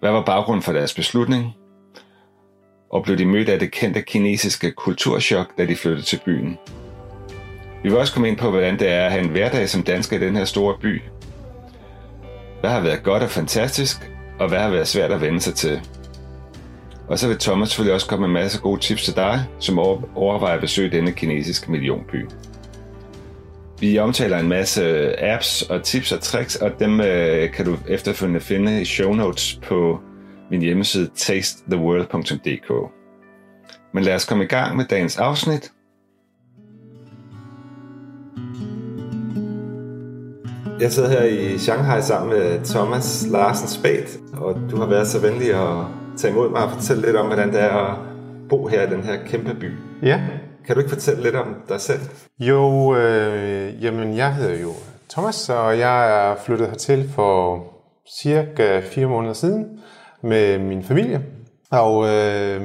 Hvad var baggrunden for deres beslutning? Og blev de mødt af det kendte kinesiske kulturschok, da de flyttede til byen? Vi vil også komme ind på, hvordan det er at have en hverdag som dansker i den her store by. Hvad har været godt og fantastisk, og hvad har været svært at vende sig til? Og så vil Thomas selvfølgelig også komme med en masse gode tips til dig, som over- overvejer at besøge denne kinesiske millionby. Vi omtaler en masse øh, apps og tips og tricks, og dem øh, kan du efterfølgende finde i show notes på min hjemmeside tastetheworld.dk. Men lad os komme i gang med dagens afsnit. Jeg sidder her i Shanghai sammen med Thomas Larsen Spad, og du har været så venlig at tage imod mig og fortælle lidt om, hvordan det er at bo her i den her kæmpe by. Ja, Kan du ikke fortælle lidt om dig selv? jo, øh, jamen jeg hedder jo Thomas, og jeg er flyttet hertil for cirka fire måneder siden med min familie. Og øh,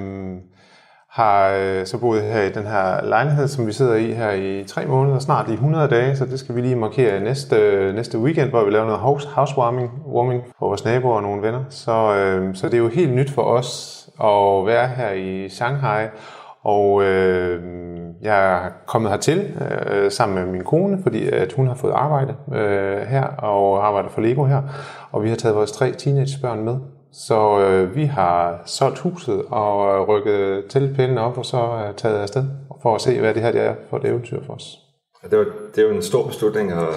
har øh, så boet her i den her lejlighed, som vi sidder i her i tre måneder, snart i 100 dage, så det skal vi lige markere næste, næste weekend, hvor vi laver noget house, housewarming warming for vores naboer og nogle venner. Så, øh, så det er jo helt nyt for os at være her i Shanghai, og øh, jeg er kommet hertil øh, sammen med min kone, fordi at hun har fået arbejde øh, her og arbejder for Lego her. Og vi har taget vores tre teenagebørn med. Så øh, vi har solgt huset og øh, rykket teltpælene op og så øh, taget afsted for at se, hvad det her det er for et eventyr for os. Det, var, det er jo en stor beslutning at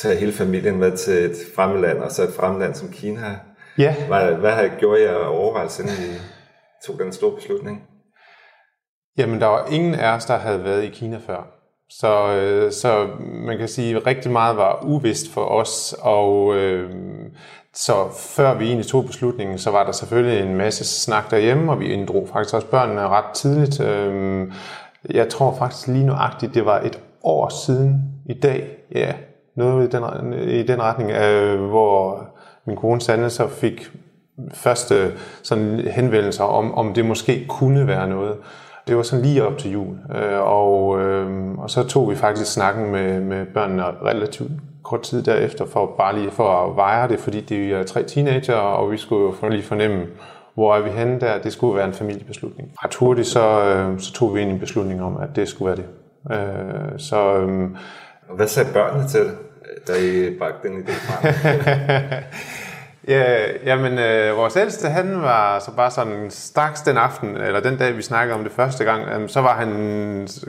tage hele familien med til et fremland, og så et fremland som Kina. Ja, Hvad, hvad har I gjort jer overvejelser, inden I tog den store beslutning? Jamen, der var ingen af os, der havde været i Kina før. Så, øh, så man kan sige, at rigtig meget var uvist for os, og øh, så før vi egentlig tog beslutningen, så var der selvfølgelig en masse snak derhjemme, og vi inddrog faktisk også børnene ret tidligt. Øh, jeg tror faktisk lige nuagtigt, det var et år siden i dag, ja, noget i den, i den retning, øh, hvor min kone Sande så fik første sådan henvendelser om, om det måske kunne være noget. Det var sådan lige op til jul, øh, og, øh, og så tog vi faktisk snakken med, med børnene relativt kort tid derefter, for bare lige for at veje det, fordi det er tre teenager, og vi skulle jo for- lige fornemme, hvor er vi henne der. Det skulle være en familiebeslutning. Ret hurtigt så, øh, så tog vi egentlig en beslutning om, at det skulle være det. Øh, så øh, Og hvad sagde børnene til, da I bragte den idé frem? Ja, jamen, øh, vores ældste, han var så bare sådan straks den aften, eller den dag, vi snakkede om det første gang, øh, så var han,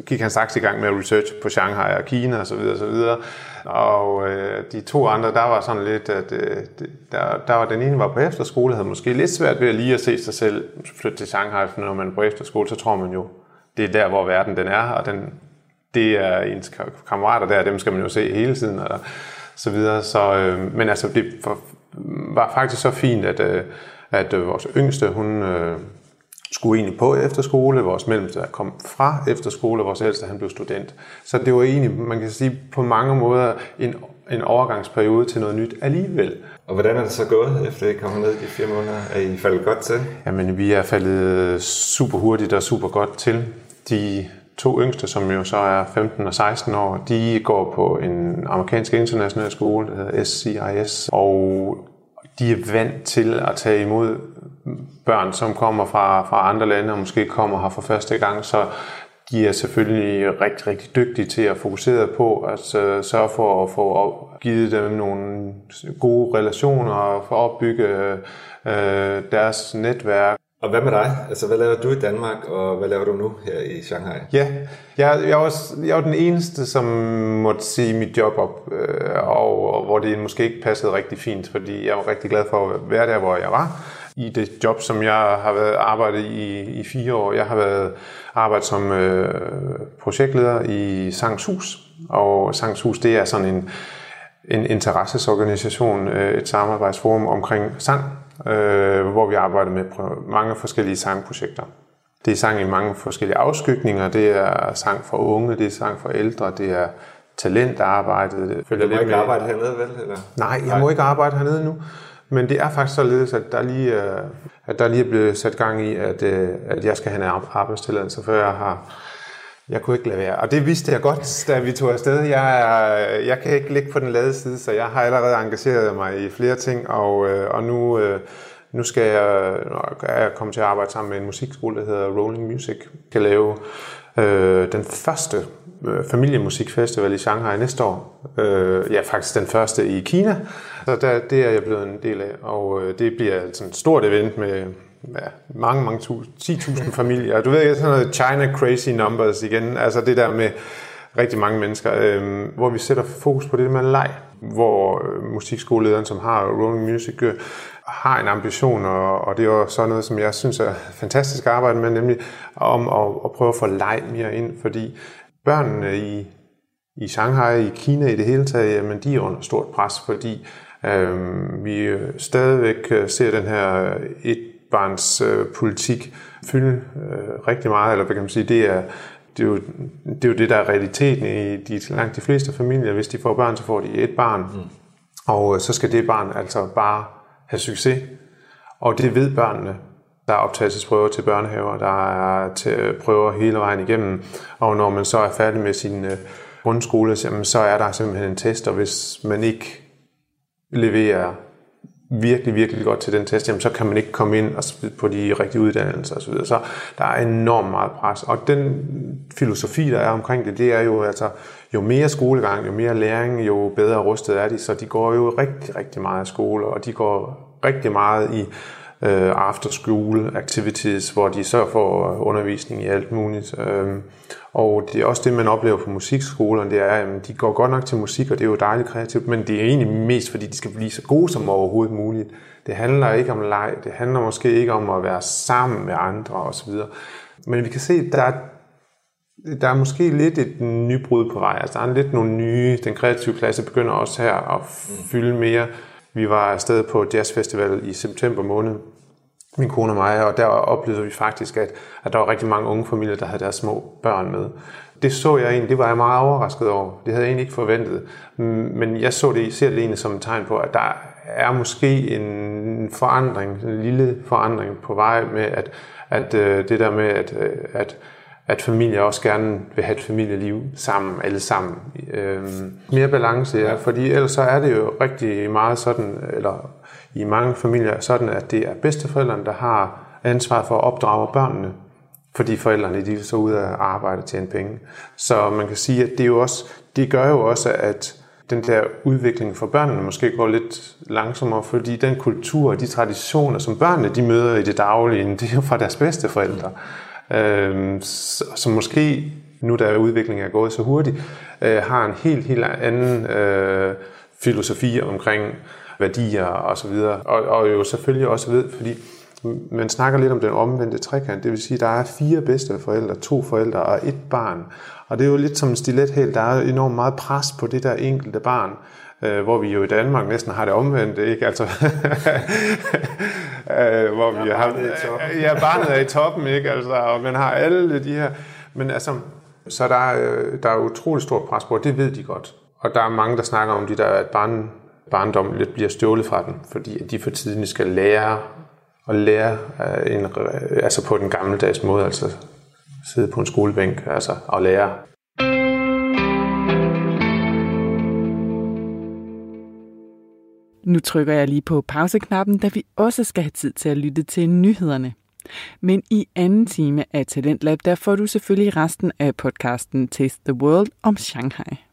gik han straks i gang med research på Shanghai og Kina og så videre, og så videre. Og øh, de to andre, der var sådan lidt, at øh, det- der, der var den ene var på efterskole, havde måske lidt svært ved at lige at se sig selv flytte til Shanghai, for når man er på efterskole, så tror man jo, det er der, hvor verden den er, og den, det er ens ka- kammerater der, dem skal man jo se hele tiden, og så videre. Så, øh, men altså, det for, var faktisk så fint, at, øh, at øh, vores yngste, hun øh, skulle egentlig på efterskole, vores mellemste kom fra efterskole, og vores ældste, han blev student. Så det var egentlig, man kan sige, på mange måder en, en overgangsperiode til noget nyt alligevel. Og hvordan er det så gået, efter I kom ned i de fire måneder? Er I faldet godt til? Jamen, vi er faldet super hurtigt og super godt til. De to yngste, som jo så er 15 og 16 år, de går på en amerikansk international skole, der hedder SCIS, og de er vant til at tage imod børn, som kommer fra, fra andre lande og måske kommer her for første gang, så de er selvfølgelig rigtig, rigtig dygtige til at fokusere på at øh, sørge for at få op- givet dem nogle gode relationer og få opbygge øh, deres netværk. Og hvad med dig? Altså, hvad laver du i Danmark, og hvad laver du nu her i Shanghai? Ja, jeg, jeg, er, også, jeg er jo den eneste, som måtte sige mit job op, øh, og, og hvor det måske ikke passede rigtig fint, fordi jeg var rigtig glad for at være der, hvor jeg var. I det job, som jeg har været arbejdet i i fire år, jeg har været arbejdet som øh, projektleder i Sangshus, og Sangshus det er sådan en, en interessesorganisation, øh, et samarbejdsforum omkring sang, øh, hvor vi arbejder med pro- mange forskellige sangprojekter. Det er sang i mange forskellige afskygninger. Det er sang for unge, det er sang for ældre, det er talentarbejdet. Det følger Du må lidt ikke med- arbejde hernede, vel? Eller? Nej, jeg må ikke arbejde hernede nu. Men det er faktisk således, at der lige, er- at der lige er blevet sat gang i, at, øh, at jeg skal have en ar- arbejdstilladelse, før jeg har... Jeg kunne ikke lade være. Og det vidste jeg godt, da vi tog afsted. Jeg, er, jeg kan ikke ligge på den lade side, så jeg har allerede engageret mig i flere ting, og, øh, og nu, øh, nu skal jeg, er jeg komme til at arbejde sammen med en musikskole, der hedder Rolling Music. Jeg skal lave øh, den første øh, familiemusikfestival i Shanghai næste år. Øh, ja, faktisk den første i Kina. Så der, det er jeg blevet en del af, og øh, det bliver sådan et stort event med ja, mange, mange tusind, 10.000 familier. Du ved ikke, sådan noget China crazy numbers igen, altså det der med rigtig mange mennesker, øh, hvor vi sætter fokus på det med leg, hvor øh, musikskolelederen, som har Rolling Music, øh, har en ambition, og, og det er jo sådan noget, som jeg synes er fantastisk at arbejde med, nemlig om at, at prøve at få leg mere ind, fordi børnene i i Shanghai, i Kina i det hele taget, jamen de er under stort pres, fordi øh, vi øh, stadigvæk øh, ser den her etbarns øh, politik fylde øh, rigtig meget, eller hvad kan man sige, det er, det er, jo, det er jo det, der er realiteten i de, langt de fleste familier. Hvis de får børn, så får de et barn, mm. og øh, så skal det barn altså bare have succes. Og det ved børnene. Der er optagelsesprøver til børnehaver, der er til øh, prøver hele vejen igennem. Og når man så er færdig med sin øh, grundskole, så- jamen, så er der simpelthen en test, og hvis man ikke leverer virkelig, virkelig godt til den test, jamen, så kan man ikke komme ind og så videre på de rigtige uddannelser osv. Så, videre. så der er enormt meget pres. Og den filosofi, der er omkring det, det er jo altså, jo mere skolegang, jo mere læring, jo bedre rustet er de, så de går jo rigtig, rigtig meget i skole, og de går rigtig meget i øh, after school activities, hvor de så får øh, undervisning i alt muligt. Øhm, og det er også det, man oplever på musikskolerne, det er, at de går godt nok til musik, og det er jo dejligt kreativt, men det er egentlig mest, fordi de skal blive så gode som overhovedet muligt. Det handler ikke om leg, det handler måske ikke om at være sammen med andre osv. Men vi kan se, at der er der er måske lidt et nybrud på vej. Altså, der er lidt nogle nye... Den kreative klasse begynder også her at fylde mere. Vi var afsted på jazzfestival i september måned, min kone og mig, og der oplevede vi faktisk, at, at der var rigtig mange unge familier, der havde deres små børn med. Det så jeg egentlig, det var jeg meget overrasket over. Det havde jeg egentlig ikke forventet. Mm, Men jeg så det, ser det egentlig som et tegn på, at der er måske en forandring, en lille forandring på vej med, at, at øh, det der med, at, øh, at at familier også gerne vil have et familieliv sammen, alle sammen. Øhm, mere balance, ja, fordi ellers så er det jo rigtig meget sådan, eller i mange familier er sådan, at det er bedsteforældrene, der har ansvar for at opdrage børnene, fordi forældrene de er så ud af arbejde og tjene penge. Så man kan sige, at det, er jo også, det gør jo også, at den der udvikling for børnene måske går lidt langsommere, fordi den kultur og de traditioner, som børnene de møder i det daglige, det er jo fra deres bedsteforældre. Øhm, s- som måske, nu da udviklingen er gået så hurtigt, øh, har en helt, helt anden øh, filosofi omkring værdier og så videre. Og, og jo selvfølgelig også ved, fordi man snakker lidt om den omvendte trekant, det vil sige, at der er fire bedste forældre, to forældre og et barn. Og det er jo lidt som en stilethæl, der er enormt meget pres på det der enkelte barn, øh, hvor vi jo i Danmark næsten har det omvendt, ikke? Altså, [LAUGHS] øh, hvor vi har, barnet er i toppen. [LAUGHS] ja, barnet er i toppen, ikke? Altså, og man har alle de her... Men altså, så der, er, øh, der er utrolig stort pres på, og det ved de godt. Og der er mange, der snakker om de der, at barn, barndommen lidt bliver stjålet fra dem, fordi at de for tiden skal lære og lære øh, en, re- altså på den gammeldags måde, altså sidde på en skolebænk altså, og lære. Nu trykker jeg lige på pauseknappen, da vi også skal have tid til at lytte til nyhederne. Men i anden time af Talentlab, der får du selvfølgelig resten af podcasten Taste the World om Shanghai.